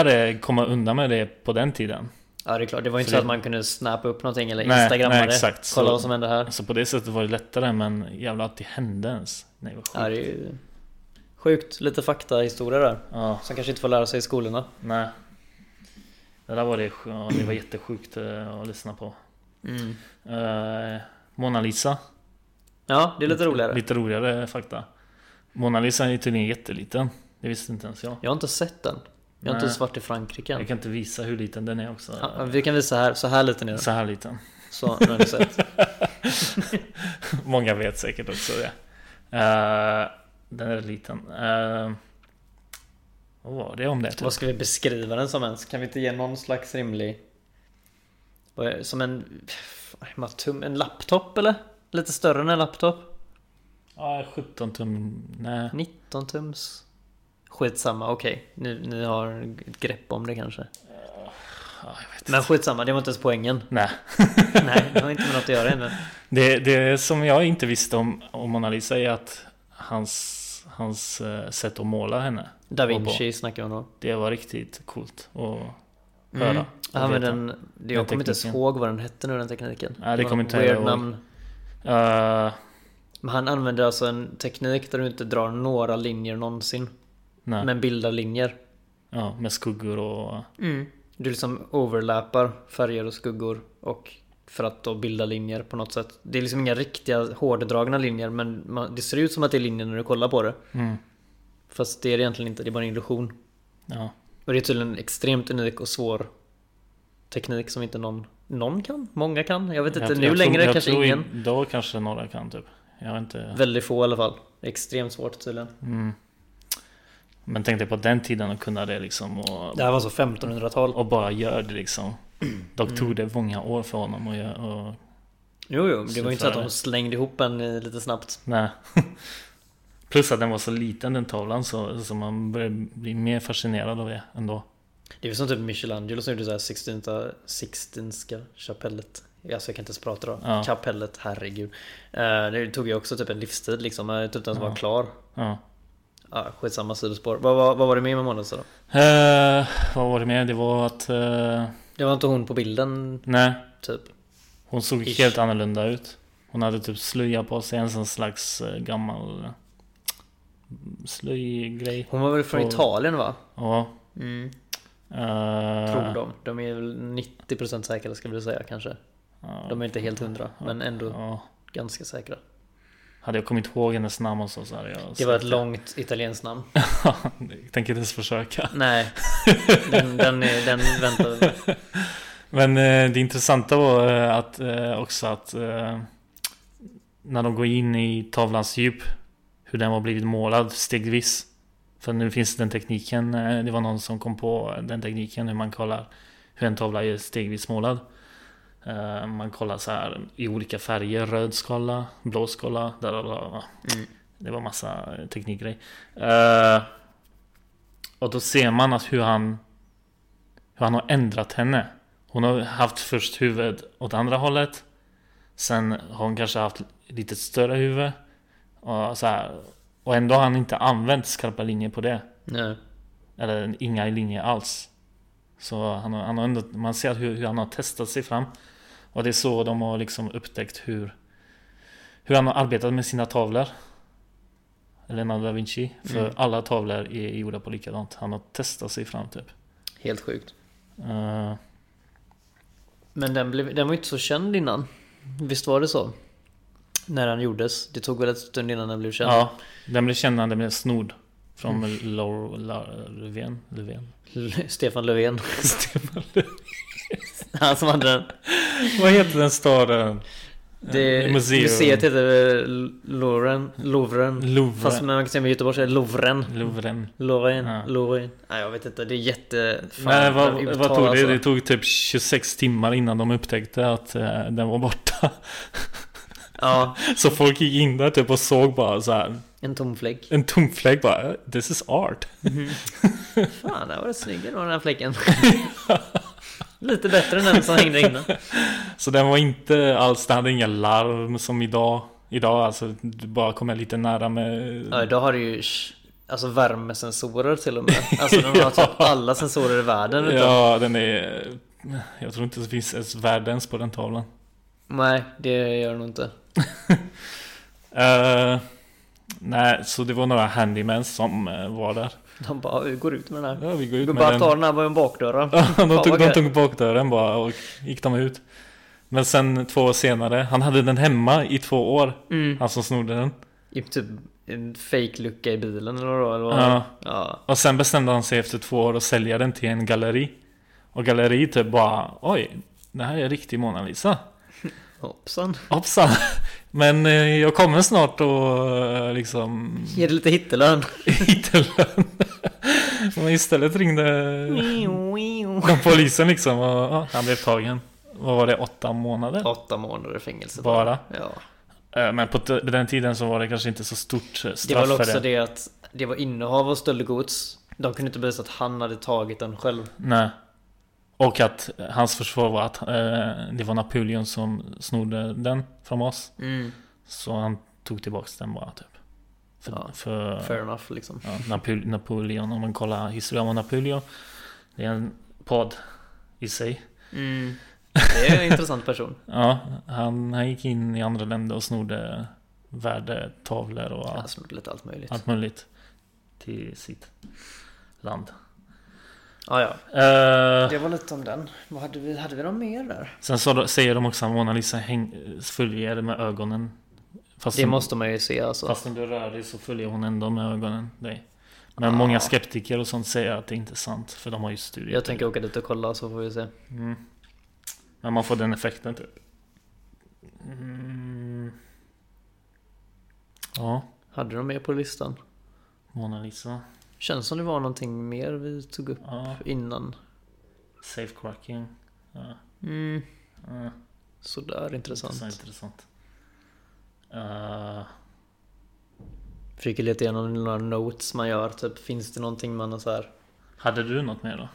Speaker 2: lättare att komma undan med det på den tiden.
Speaker 3: Ja det är klart, det var ju inte
Speaker 2: Så
Speaker 3: så
Speaker 2: det-
Speaker 3: att man kunde snappa upp någonting eller
Speaker 2: Nej,
Speaker 3: instagramma
Speaker 2: nej,
Speaker 3: det.
Speaker 2: exakt.
Speaker 3: Kolla
Speaker 2: Så- Alltså-
Speaker 3: vad som hände här.
Speaker 2: Så på det sättet var det lättare men jävlar att det hände ens. Nej vad sjukt.
Speaker 3: Ja, det är ju sjukt. Lite faktahistoria där.
Speaker 2: Ja,
Speaker 3: Som kanske inte får lära sig i skolorna.
Speaker 2: nej. Det där var det, ja, det var jättesjukt eh, att lyssna på. Mm. Eh, Mona Lisa.
Speaker 3: Ja, det är lite roligare.
Speaker 2: Lite roligare fakta. Mona Lisa är ju tydligen jätteliten. Det visste inte ens jag.
Speaker 3: Jag har inte sett den. Jag
Speaker 2: Nej.
Speaker 3: har inte ens varit i Frankrike
Speaker 2: Jag
Speaker 3: än.
Speaker 2: kan inte visa hur liten den är också.
Speaker 3: Ja, vi kan visa här, så här liten är den.
Speaker 2: Så här liten.
Speaker 3: Så, nu har
Speaker 2: [laughs]
Speaker 3: ni sett.
Speaker 2: Många vet säkert också det. Eh, den är liten. Eh, vad var det om det? Typ?
Speaker 3: Vad ska vi beskriva den som ens? Kan vi inte ge någon slags rimlig... Vad är- Som en... vad är Tum, en laptop eller? Lite större än en laptop?
Speaker 2: Ja, 17 tum. Nej.
Speaker 3: 19 tums? Skitsamma, okej. Ni, ni har ett grepp om det kanske.
Speaker 2: Ja, jag vet.
Speaker 3: Men skitsamma, det var inte ens
Speaker 2: [laughs]
Speaker 3: poängen.
Speaker 2: Nej.
Speaker 3: Nej, det har inte med något att göra ännu.
Speaker 2: Det, det som jag inte visste om, om Mona Lisa är att hans, hans eh, sätt att måla henne.
Speaker 3: Da
Speaker 2: Och på.
Speaker 3: Vinci snackar vi om då.
Speaker 2: Det var riktigt coolt att höra.
Speaker 3: Mm.
Speaker 2: och
Speaker 3: Ja, men
Speaker 2: veta.
Speaker 3: den, det- jag
Speaker 2: Den
Speaker 3: kommer inte ens
Speaker 2: tekniken.
Speaker 3: ihåg vad den hette nu den tekniken.
Speaker 2: Nej, det
Speaker 3: var
Speaker 2: kommer
Speaker 3: något
Speaker 2: inte jag
Speaker 3: weird
Speaker 2: ihåg.
Speaker 3: namn.
Speaker 2: Eh,
Speaker 3: Men han använder alltså en teknik där du inte drar några linjer någonsin.
Speaker 2: nej.
Speaker 3: Men bildar linjer.
Speaker 2: Ja, med skuggor och...
Speaker 3: Du liksom overlappar färger och skuggor och för att då bilda linjer på något sätt. Det är liksom inga riktiga hårddragna linjer men man, det ser ut som att det är linjer när du kollar på det.
Speaker 2: Mm,
Speaker 3: Fast det är det egentligen inte, det är bara en illusion.
Speaker 2: ja.
Speaker 3: Och det är tydligen en extremt unik och svår teknik som inte någon, någon kan, många kan. Jag vet inte,
Speaker 2: Jag-
Speaker 3: nu
Speaker 2: jag
Speaker 3: längre
Speaker 2: tror, jag
Speaker 3: kanske
Speaker 2: tror
Speaker 3: ingen.
Speaker 2: Idag kanske några kan typ. Jag har inte...
Speaker 3: Väldigt få i alla fall. Extremt svårt tydligen.
Speaker 2: Mm. Men tänkte på den tiden att kunna det liksom och,
Speaker 3: Det här var alltså så 1500-tal.
Speaker 2: och bara gör det liksom.
Speaker 3: Mm.
Speaker 2: Dock tog det många år för honom att göra. Och,
Speaker 3: Jo, jo, det var ju inte så att
Speaker 2: Före.
Speaker 3: de slängde ihop en eh, lite snabbt.
Speaker 2: nej. [laughs] Plus att den var så liten den tavlan så, så man började bli mer fascinerad av det ändå.
Speaker 3: Det är väl som typ Michelangelo som gjorde så här Sixtinska, Sixtinska kapellet. Alltså jag kan inte ens prata då.
Speaker 2: Ja.
Speaker 3: Kapellet, herregud. Eh, Det tog ju också typ en livstid liksom. Jag tyckte inte ens var klar.
Speaker 2: Ja.
Speaker 3: Ja, skitsamma sidospår. Vad, vad, vad var det med med Mona Lisa då?
Speaker 2: Eh, vad var det med? Det var att... eh,
Speaker 3: Det var inte hon på bilden
Speaker 2: nej,
Speaker 3: typ.
Speaker 2: hon såg
Speaker 3: Ish.
Speaker 2: helt annorlunda ut. Hon hade typ slöja på sig, en sån slags eh, gammal eh, slöjgrej.
Speaker 3: Hon var väl från
Speaker 2: Och-
Speaker 3: Italien va?
Speaker 2: Ja.
Speaker 3: Mm.
Speaker 2: eh,
Speaker 3: Tror de. De är väl 90% säkra ska vi säga kanske.
Speaker 2: ja,
Speaker 3: De är inte helt hundra men ändå
Speaker 2: ja.
Speaker 3: ganska säkra.
Speaker 2: Hade jag kommit ihåg hennes namn och så, så hade jag
Speaker 3: Det var ett långt italienskt namn.
Speaker 2: [laughs] jag tänker inte ens försöka. [laughs]
Speaker 3: Nej, den, den, är, den väntar.
Speaker 2: Men eh, det intressanta var eh, att, eh, också att eh, när de går in i tavlans djup, hur den har blivit målad stegvis. För nu finns den tekniken, eh, det var någon som kom på den tekniken hur man kollar hur en tavla är stegvis målad. Eh, man kollar så här i olika färger, röd skala, blå skala, där, där, där.
Speaker 3: Mm.
Speaker 2: Det var massa eh, teknikgrej. Eh, och då ser man att hur han, hur han har ändrat henne. Hon har haft först huvud åt andra hållet. Sen har hon kanske haft lite större huvud. Och, så här. och ändå har han inte använt skarpa linjer på det.
Speaker 3: Nej.
Speaker 2: Eller inga linjer alls. Så han har, han har ändå, man ser hur, hur han har testat sig fram. Och det är så de har liksom upptäckt hur, hur han har arbetat med sina tavlor. Leonardo da Vinci. För
Speaker 3: Mm.
Speaker 2: alla tavlor är gjorda på likadant. Han har testat sig fram typ.
Speaker 3: Helt sjukt.
Speaker 2: Eh,
Speaker 3: Men den, blev, den var ju inte så känd innan. Visst var det så? När den gjordes. Det tog väl ett stund innan den blev känd.
Speaker 2: ja, den blev känd när den blev snodd. Från Laur- La- Löfven. Löfven.
Speaker 3: [laughs] L- Stefan Löfven. [laughs] Han som hade den.
Speaker 2: Vad heter den staden?
Speaker 3: Det,
Speaker 2: Eh, museum.
Speaker 3: Museet heter Louvren. Louvren.
Speaker 2: Louvre.
Speaker 3: Fast man kan säga med Göteborg så är det Louvren.
Speaker 2: Louvren.
Speaker 3: Lorraine,
Speaker 2: Ja.
Speaker 3: Lorraine. Nej jag vet inte, det är jätte... fan,
Speaker 2: Nej, vad,
Speaker 3: uttal,
Speaker 2: vad tog det?
Speaker 3: alltså.
Speaker 2: Det tog typ 26 timmar innan de upptäckte att eh, den var borta. [laughs]
Speaker 3: Ja,
Speaker 2: Så folk gick in där typ och såg bara så här
Speaker 3: en tom fläck.
Speaker 2: en tom fläck bara This is art.
Speaker 3: Mm-hmm. [laughs] Fan, där var det snygg den här fläcken. [laughs] Lite bättre än den som hängde innan.
Speaker 2: Så den var inte alls, den hade inga larm som idag. Idag alltså, du bara kommer lite nära med...
Speaker 3: Ja, idag har du ju sh- alltså värmesensorer till och med. Alltså de har
Speaker 2: Ja.
Speaker 3: typ alla sensorer i världen. utan-
Speaker 2: Ja, den är Jag tror inte det finns ens världens på den tavlan.
Speaker 3: Nej, det gör det nog inte.
Speaker 2: Eh, nej, så det var några handymän som eh, var där.
Speaker 3: De bara, vi går ut med den här.
Speaker 2: Ja, vi går ut
Speaker 3: Vi
Speaker 2: med
Speaker 3: bara
Speaker 2: den.
Speaker 3: tar den här med bakdörren.
Speaker 2: Ja, de, tog,
Speaker 3: Fan, vad
Speaker 2: de
Speaker 3: gött.
Speaker 2: tog bakdörren bara och gick de ut. Men sen två år senare, han hade den hemma i två år.
Speaker 3: Mm.
Speaker 2: Han som snodde den.
Speaker 3: I typ en fake lucka i bilen eller vad det var.
Speaker 2: Ja.
Speaker 3: ja.
Speaker 2: Och sen bestämde han sig efter två år att sälja den till en galleri. Och galleri typ bara, oj, det här är en riktig Mona Lisa.
Speaker 3: Hoppsan.
Speaker 2: Hoppsan! [laughs] Men eh, jag kommer snart och eh, liksom
Speaker 3: Ge det lite hittelön.
Speaker 2: hitta lön. Men istället ringde de polisen liksom och ja, han blev tagen. Vad var det, åtta månader?
Speaker 3: Åtta månader i fängelse.
Speaker 2: Bara.
Speaker 3: Ja.
Speaker 2: Eh, Men på t- den tiden så var det kanske inte så stort eh, straff
Speaker 3: Det var väl
Speaker 2: för
Speaker 3: också
Speaker 2: det.
Speaker 3: det att det var innehav av stöldgods. De kunde inte bevisa att han hade tagit den själv.
Speaker 2: Nej. Och att eh, hans försvar var att eh, det var Napoleon som snodde den från oss.
Speaker 3: Mm.
Speaker 2: Så han tog tillbaks den bara typ. För,
Speaker 3: Ja,
Speaker 2: för,
Speaker 3: Fair enough liksom.
Speaker 2: ja, Napol- Napoleon, om man kollar historien om Napoleon. Det är en podd i sig.
Speaker 3: Mm. Det är en [laughs] intressant person.
Speaker 2: Ja, han, han gick in i andra länder och snodde värdetavlor och
Speaker 3: Han
Speaker 2: allt,
Speaker 3: snodde lite allt möjligt.
Speaker 2: allt möjligt. Till sitt land.
Speaker 3: Ja, ja.
Speaker 2: Eh,
Speaker 3: Det var lite om den. Vad hade vi? Hade vi någon mer där?
Speaker 2: Sen så säger de också att Mona Lisa häng, följer med ögonen. Fast
Speaker 3: Det måste man ju se alltså.
Speaker 2: Fastän du rör dig så följer hon ändå med ögonen dig. Men
Speaker 3: Ah.
Speaker 2: många skeptiker och sånt säger att det inte är sant. För de har ju studier.
Speaker 3: Jag tänker åka dit och kolla så får vi se.
Speaker 2: Mm. Men man får den effekten typ. Mm. Ja,
Speaker 3: Hade de mer på listan?
Speaker 2: Mona Lisa.
Speaker 3: Känns som det var någonting mer vi tog upp
Speaker 2: Ja,
Speaker 3: innan.
Speaker 2: safe cracking. Ja,
Speaker 3: Mm.
Speaker 2: ja.
Speaker 3: Sådär
Speaker 2: Så
Speaker 3: intressant.
Speaker 2: intressant. Eh,
Speaker 3: Försöker leta igenom några notes man gör. Typ finns det någonting man har så här.
Speaker 2: hade du något mer då?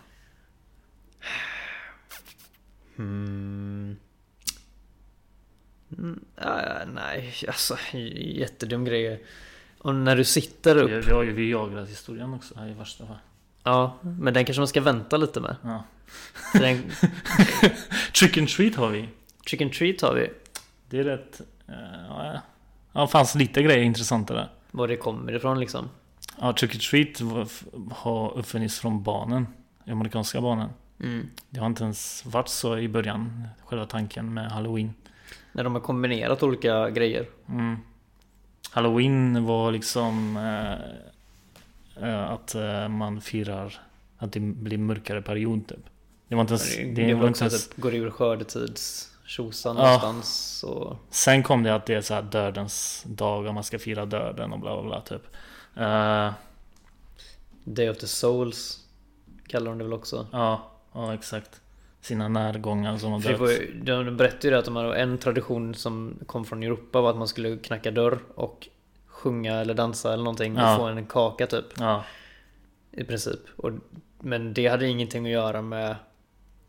Speaker 3: Mm. Ah, nej, alltså j- jättedum grej. Och när du sitter upp.
Speaker 2: Vi, vi har ju Viagra-historien också här i värsta fall.
Speaker 3: Ja, men den kanske man ska vänta lite med.
Speaker 2: Ja.
Speaker 3: För Den,
Speaker 2: Trick and treat har vi.
Speaker 3: chicken treat har vi.
Speaker 2: Det är rätt... eh, ja. ja, det fanns lite grejer intressanta där.
Speaker 3: Var det kommer ifrån liksom.
Speaker 2: Ja, trick and treat var- f- har uppfunnits från barnen. de Amerikanska barnen.
Speaker 3: Mm.
Speaker 2: Det har inte ens varit så i början, själva tanken med halloween.
Speaker 3: När de har kombinerat olika grejer.
Speaker 2: Mm. Halloween var liksom eh, eh, att eh, man firar att det blir mörkare period typ. Det var inte ens...
Speaker 3: Det,
Speaker 2: Det,
Speaker 3: det,
Speaker 2: var
Speaker 3: var
Speaker 2: inte
Speaker 3: också
Speaker 2: ens
Speaker 3: typ, går ur skördetids tjosan
Speaker 2: Ja.
Speaker 3: någonstans och...
Speaker 2: Sen kom det att det är så här dödens dag och man ska fira döden och bla bla bla typ. Eh,
Speaker 3: Day of the Souls kallar de det väl också.
Speaker 2: Ja, ja exakt. Sina närgångar som har
Speaker 3: För det var
Speaker 2: dött.
Speaker 3: ju, de berättade ju det att de hade en tradition som kom från Europa var att man skulle knacka dörr och sjunga eller dansa eller någonting och
Speaker 2: Ja.
Speaker 3: få en kaka typ.
Speaker 2: Ja,
Speaker 3: I princip. Och, men det hade ingenting att göra med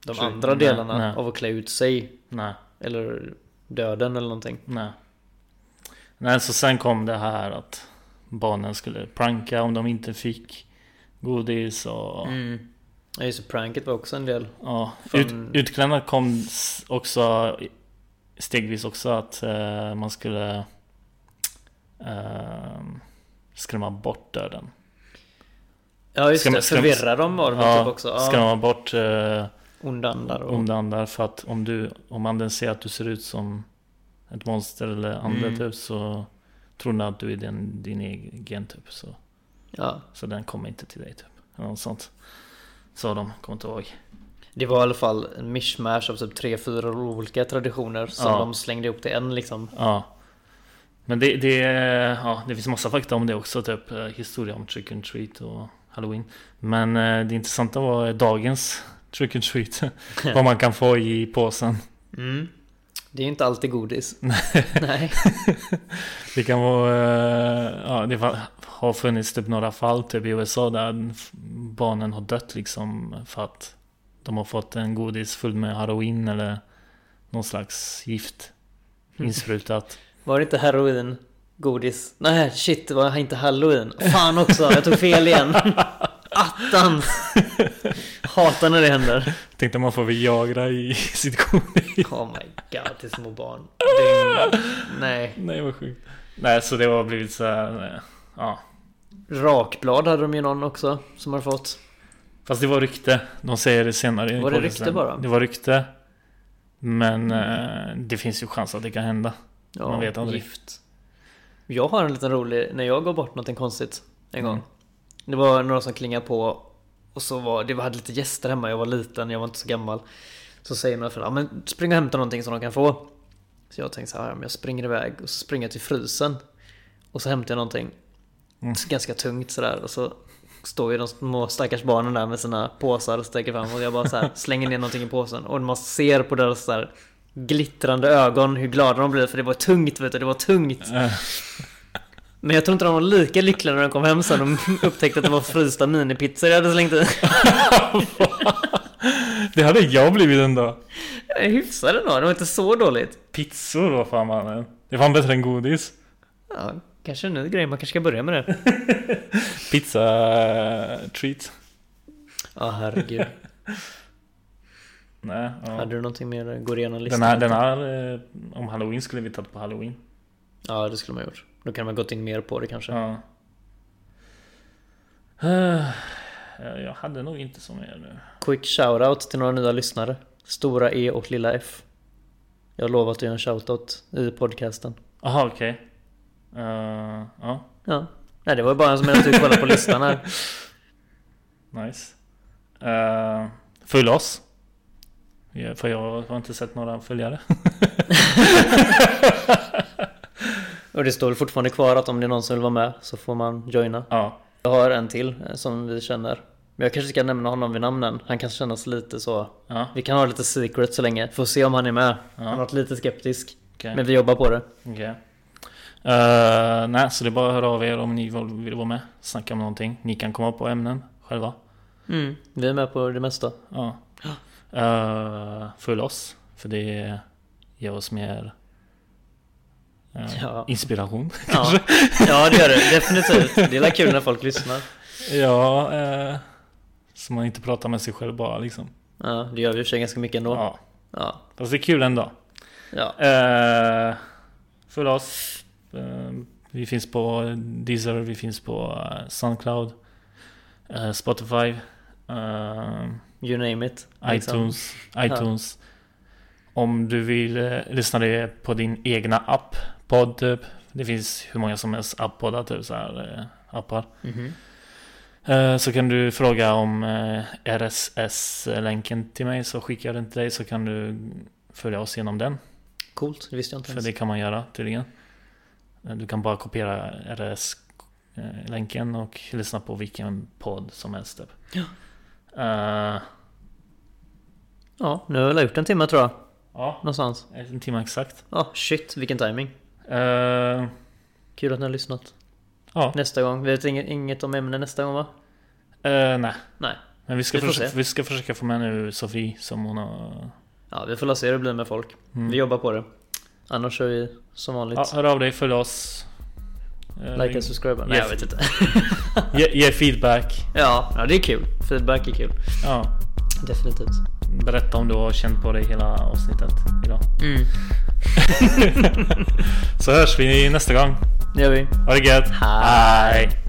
Speaker 3: de
Speaker 2: Tror-
Speaker 3: andra
Speaker 2: nej,
Speaker 3: delarna
Speaker 2: nej.
Speaker 3: av att klä ut sig.
Speaker 2: nej,
Speaker 3: Eller döden eller någonting.
Speaker 2: nej. Nej, så sen kom det här att barnen skulle pranka om de inte fick godis och...
Speaker 3: Mm. Ja just det, pranket var också en del.
Speaker 2: Ja.
Speaker 3: Fan.
Speaker 2: Ut, utklädnad kom s- också stegvis också att eh, man skulle eh, skrämma bort döden.
Speaker 3: Ja just
Speaker 2: Ska man-
Speaker 3: det,
Speaker 2: ska man-
Speaker 3: förvirra dem var det väl typ också. Ja,
Speaker 2: skrämma bort eh,
Speaker 3: Onda andar och...
Speaker 2: onda andar för att om, du, om anden ser att du ser ut som ett monster eller ande
Speaker 3: Mm.
Speaker 2: typ så tror den att du är din, din egen typ så,
Speaker 3: Ja.
Speaker 2: så den kommer inte till dig typ. Eller något sånt. Sa de, kommer inte ihåg.
Speaker 3: Det var i alla fall en mishmash av typ tre, fyra olika traditioner som
Speaker 2: Ja.
Speaker 3: de slängde ihop till en liksom.
Speaker 2: Ja. Men det, det, ja, det finns massa fakta om det också, typ eh, historia om trick and treat och halloween. Men eh, det intressanta var dagens trick and treat. vad man kan få i påsen.
Speaker 3: Mm. Det är inte
Speaker 2: [laughs]
Speaker 3: alltid godis. Nej.
Speaker 2: Det kan vara, eh, ja det var, har funnits typ några fall typ i USA där barnen har dött liksom för att de har fått en godis full med heroin eller någon slags gift insprutat.
Speaker 3: Var det inte halloween? Godis? Nej, shit, det
Speaker 2: [laughs]
Speaker 3: var inte halloween. Fan också, jag tog fel igen. Attans! Hatar när det händer.
Speaker 2: Tänkte man får Viagra i [laughs] sitt kolli.
Speaker 3: Oh my god, det är små barn. Dygn. Nej.
Speaker 2: Nej vad sjukt. Nej så det har blivit så här, eh, ja.
Speaker 3: Rakblad hade de ju någon också som har fått.
Speaker 2: Fast det var rykte. De säger det senare. i
Speaker 3: Var det
Speaker 2: podden
Speaker 3: rykte
Speaker 2: sen.
Speaker 3: bara?
Speaker 2: Det var rykte. Men eh, det finns ju chans att det kan hända. [laughs]
Speaker 3: Ja,
Speaker 2: Man vet aldrig.
Speaker 3: gift. Jag har en liten rolig, när jag gav bort något konstigt en gång. Det var några som klingade på och så var, det var- hade lite gäster hemma, jag var liten, jag var inte så gammal. Så säger mina föräldrar, "Ja, men spring och hämta någonting som de kan få. Så jag tänkte så här, "Ja, men jag springer iväg och så springer jag till frysen. Och så hämtar jag någonting
Speaker 2: Mm.
Speaker 3: ganska tungt sådär och så står ju de små stackars barnen där med sina påsar och sträcker fram och jag bara så här slänger ner någonting i påsen och man ser på deras så här glittrande ögon hur glada de blir för det var tungt vet du, det var tungt.
Speaker 2: Eh,
Speaker 3: Men jag tror inte de var lika lyckliga när de [laughs] kom hem sen och upptäckte att det var frysta minipizzor jag
Speaker 2: [laughs]
Speaker 3: hade slängt i.
Speaker 2: det hade jag blivit en dag.
Speaker 3: Jag är hyfsad ändå, det var inte så dåligt.
Speaker 2: Pizzor vad fan mannen. Det är fan bättre än godis.
Speaker 3: Ja, kanske en ny grej, man kanske ska börja med det.
Speaker 2: Pizza eh, treat.
Speaker 3: Ja herregud.
Speaker 2: Nej, ja.
Speaker 3: Hade du någonting mer? Går igenom listan?
Speaker 2: Den här, den här eh, om halloween skulle vi tagit på halloween.
Speaker 3: Ja det skulle man ha gjort. Då kan man gått in mer på det kanske.
Speaker 2: Ja. Eh, Jag hade nog inte så mer nu.
Speaker 3: Quick shoutout till några nya lyssnare. Stora E och lilla F. Jag har lovat att göra en shoutout i podcasten.
Speaker 2: Jaha okej. Eh, Ja,
Speaker 3: Ja. Nej, det var bara en som jag typ kollade på
Speaker 2: [laughs]
Speaker 3: listan här.
Speaker 2: nice. Uh, följ oss. Ja, För jag har inte sett några följare.
Speaker 3: Och det står väl fortfarande kvar att om det är någon som vill vara med så får man joina.
Speaker 2: Ja,
Speaker 3: Jag har en till eh, som vi känner. Men jag kanske ska nämna honom vid namnen. Han kan kännas lite så.
Speaker 2: ja,
Speaker 3: Vi kan ha lite secret så länge. Får se om han är med. Han har varit lite skeptisk.
Speaker 2: okej.
Speaker 3: Men vi jobbar på det.
Speaker 2: Okej. Eh, nej, så det är bara att höra av er om ni vill vara med. Snacka om någonting. Ni kan komma på ämnen själva.
Speaker 3: Vi är med på det mesta.
Speaker 2: Ja. Uh, följ oss, för det ger oss mer eh,
Speaker 3: Ja.
Speaker 2: inspiration. [laughs]
Speaker 3: Ja. ja, det gör det. Definitivt. Det är kul när folk lyssnar.
Speaker 2: ja, eh, så man inte pratar med sig själv bara liksom.
Speaker 3: Ja, det gör vi i och för sig ganska mycket ändå.
Speaker 2: Ja.
Speaker 3: Ja,
Speaker 2: Fast det är kul ändå.
Speaker 3: ja.
Speaker 2: Uh, följ oss. Eh, vi finns på Deezer, vi finns på eh, Soundcloud, eh, Spotify, eh,
Speaker 3: You name it. liksom.
Speaker 2: iTunes, iTunes. Om du vill eh, lyssna det på din egna app, podd typ. Det finns hur många som helst appoddar, typ så här eh, appar.
Speaker 3: Mhm.
Speaker 2: Eh, Så kan du fråga om eh, RSS-länken till mig så skickar jag den till dig så kan du följa oss genom den.
Speaker 3: Coolt, det visste jag inte
Speaker 2: För
Speaker 3: ens.
Speaker 2: det kan man göra tydligen. Eh, Du kan bara kopiera RS-länken och lyssna på vilken podd som helst. Typ.
Speaker 3: Ja.
Speaker 2: Eh,
Speaker 3: Ja, nu har jag väl gjort en timme tror jag.
Speaker 2: ja,
Speaker 3: Någonstans.
Speaker 2: en timme exakt.
Speaker 3: Ja, shit vilken timing.
Speaker 2: Eh,
Speaker 3: Kul att ni har lyssnat.
Speaker 2: Ja.
Speaker 3: Nästa gång. Vi vet inget, inget om ämne nästa gång va?
Speaker 2: Eh, nej.
Speaker 3: Nej.
Speaker 2: Men vi ska,
Speaker 3: Vi får
Speaker 2: försöka,
Speaker 3: se.
Speaker 2: vi ska försöka få med nu Sofie som hon har... mm.
Speaker 3: Ja, vi får la se hur det blir med folk. Vi jobbar på det. Annars kör vi som vanligt.
Speaker 2: Ja, hör av dig, följ oss. Eh,
Speaker 3: like and subscribe. Nej,
Speaker 2: Yes.
Speaker 3: jag vet inte.
Speaker 2: ge, ge feedback.
Speaker 3: ja, ja, det är kul. Feedback är kul.
Speaker 2: Ja.
Speaker 3: Definitivt.
Speaker 2: Berätta om du har känt på dig hela avsnittet idag.
Speaker 3: Mm.
Speaker 2: Så hörs vi nästa gång.
Speaker 3: Det gör vi.
Speaker 2: Ha det gött.
Speaker 3: Hej.
Speaker 2: Hej.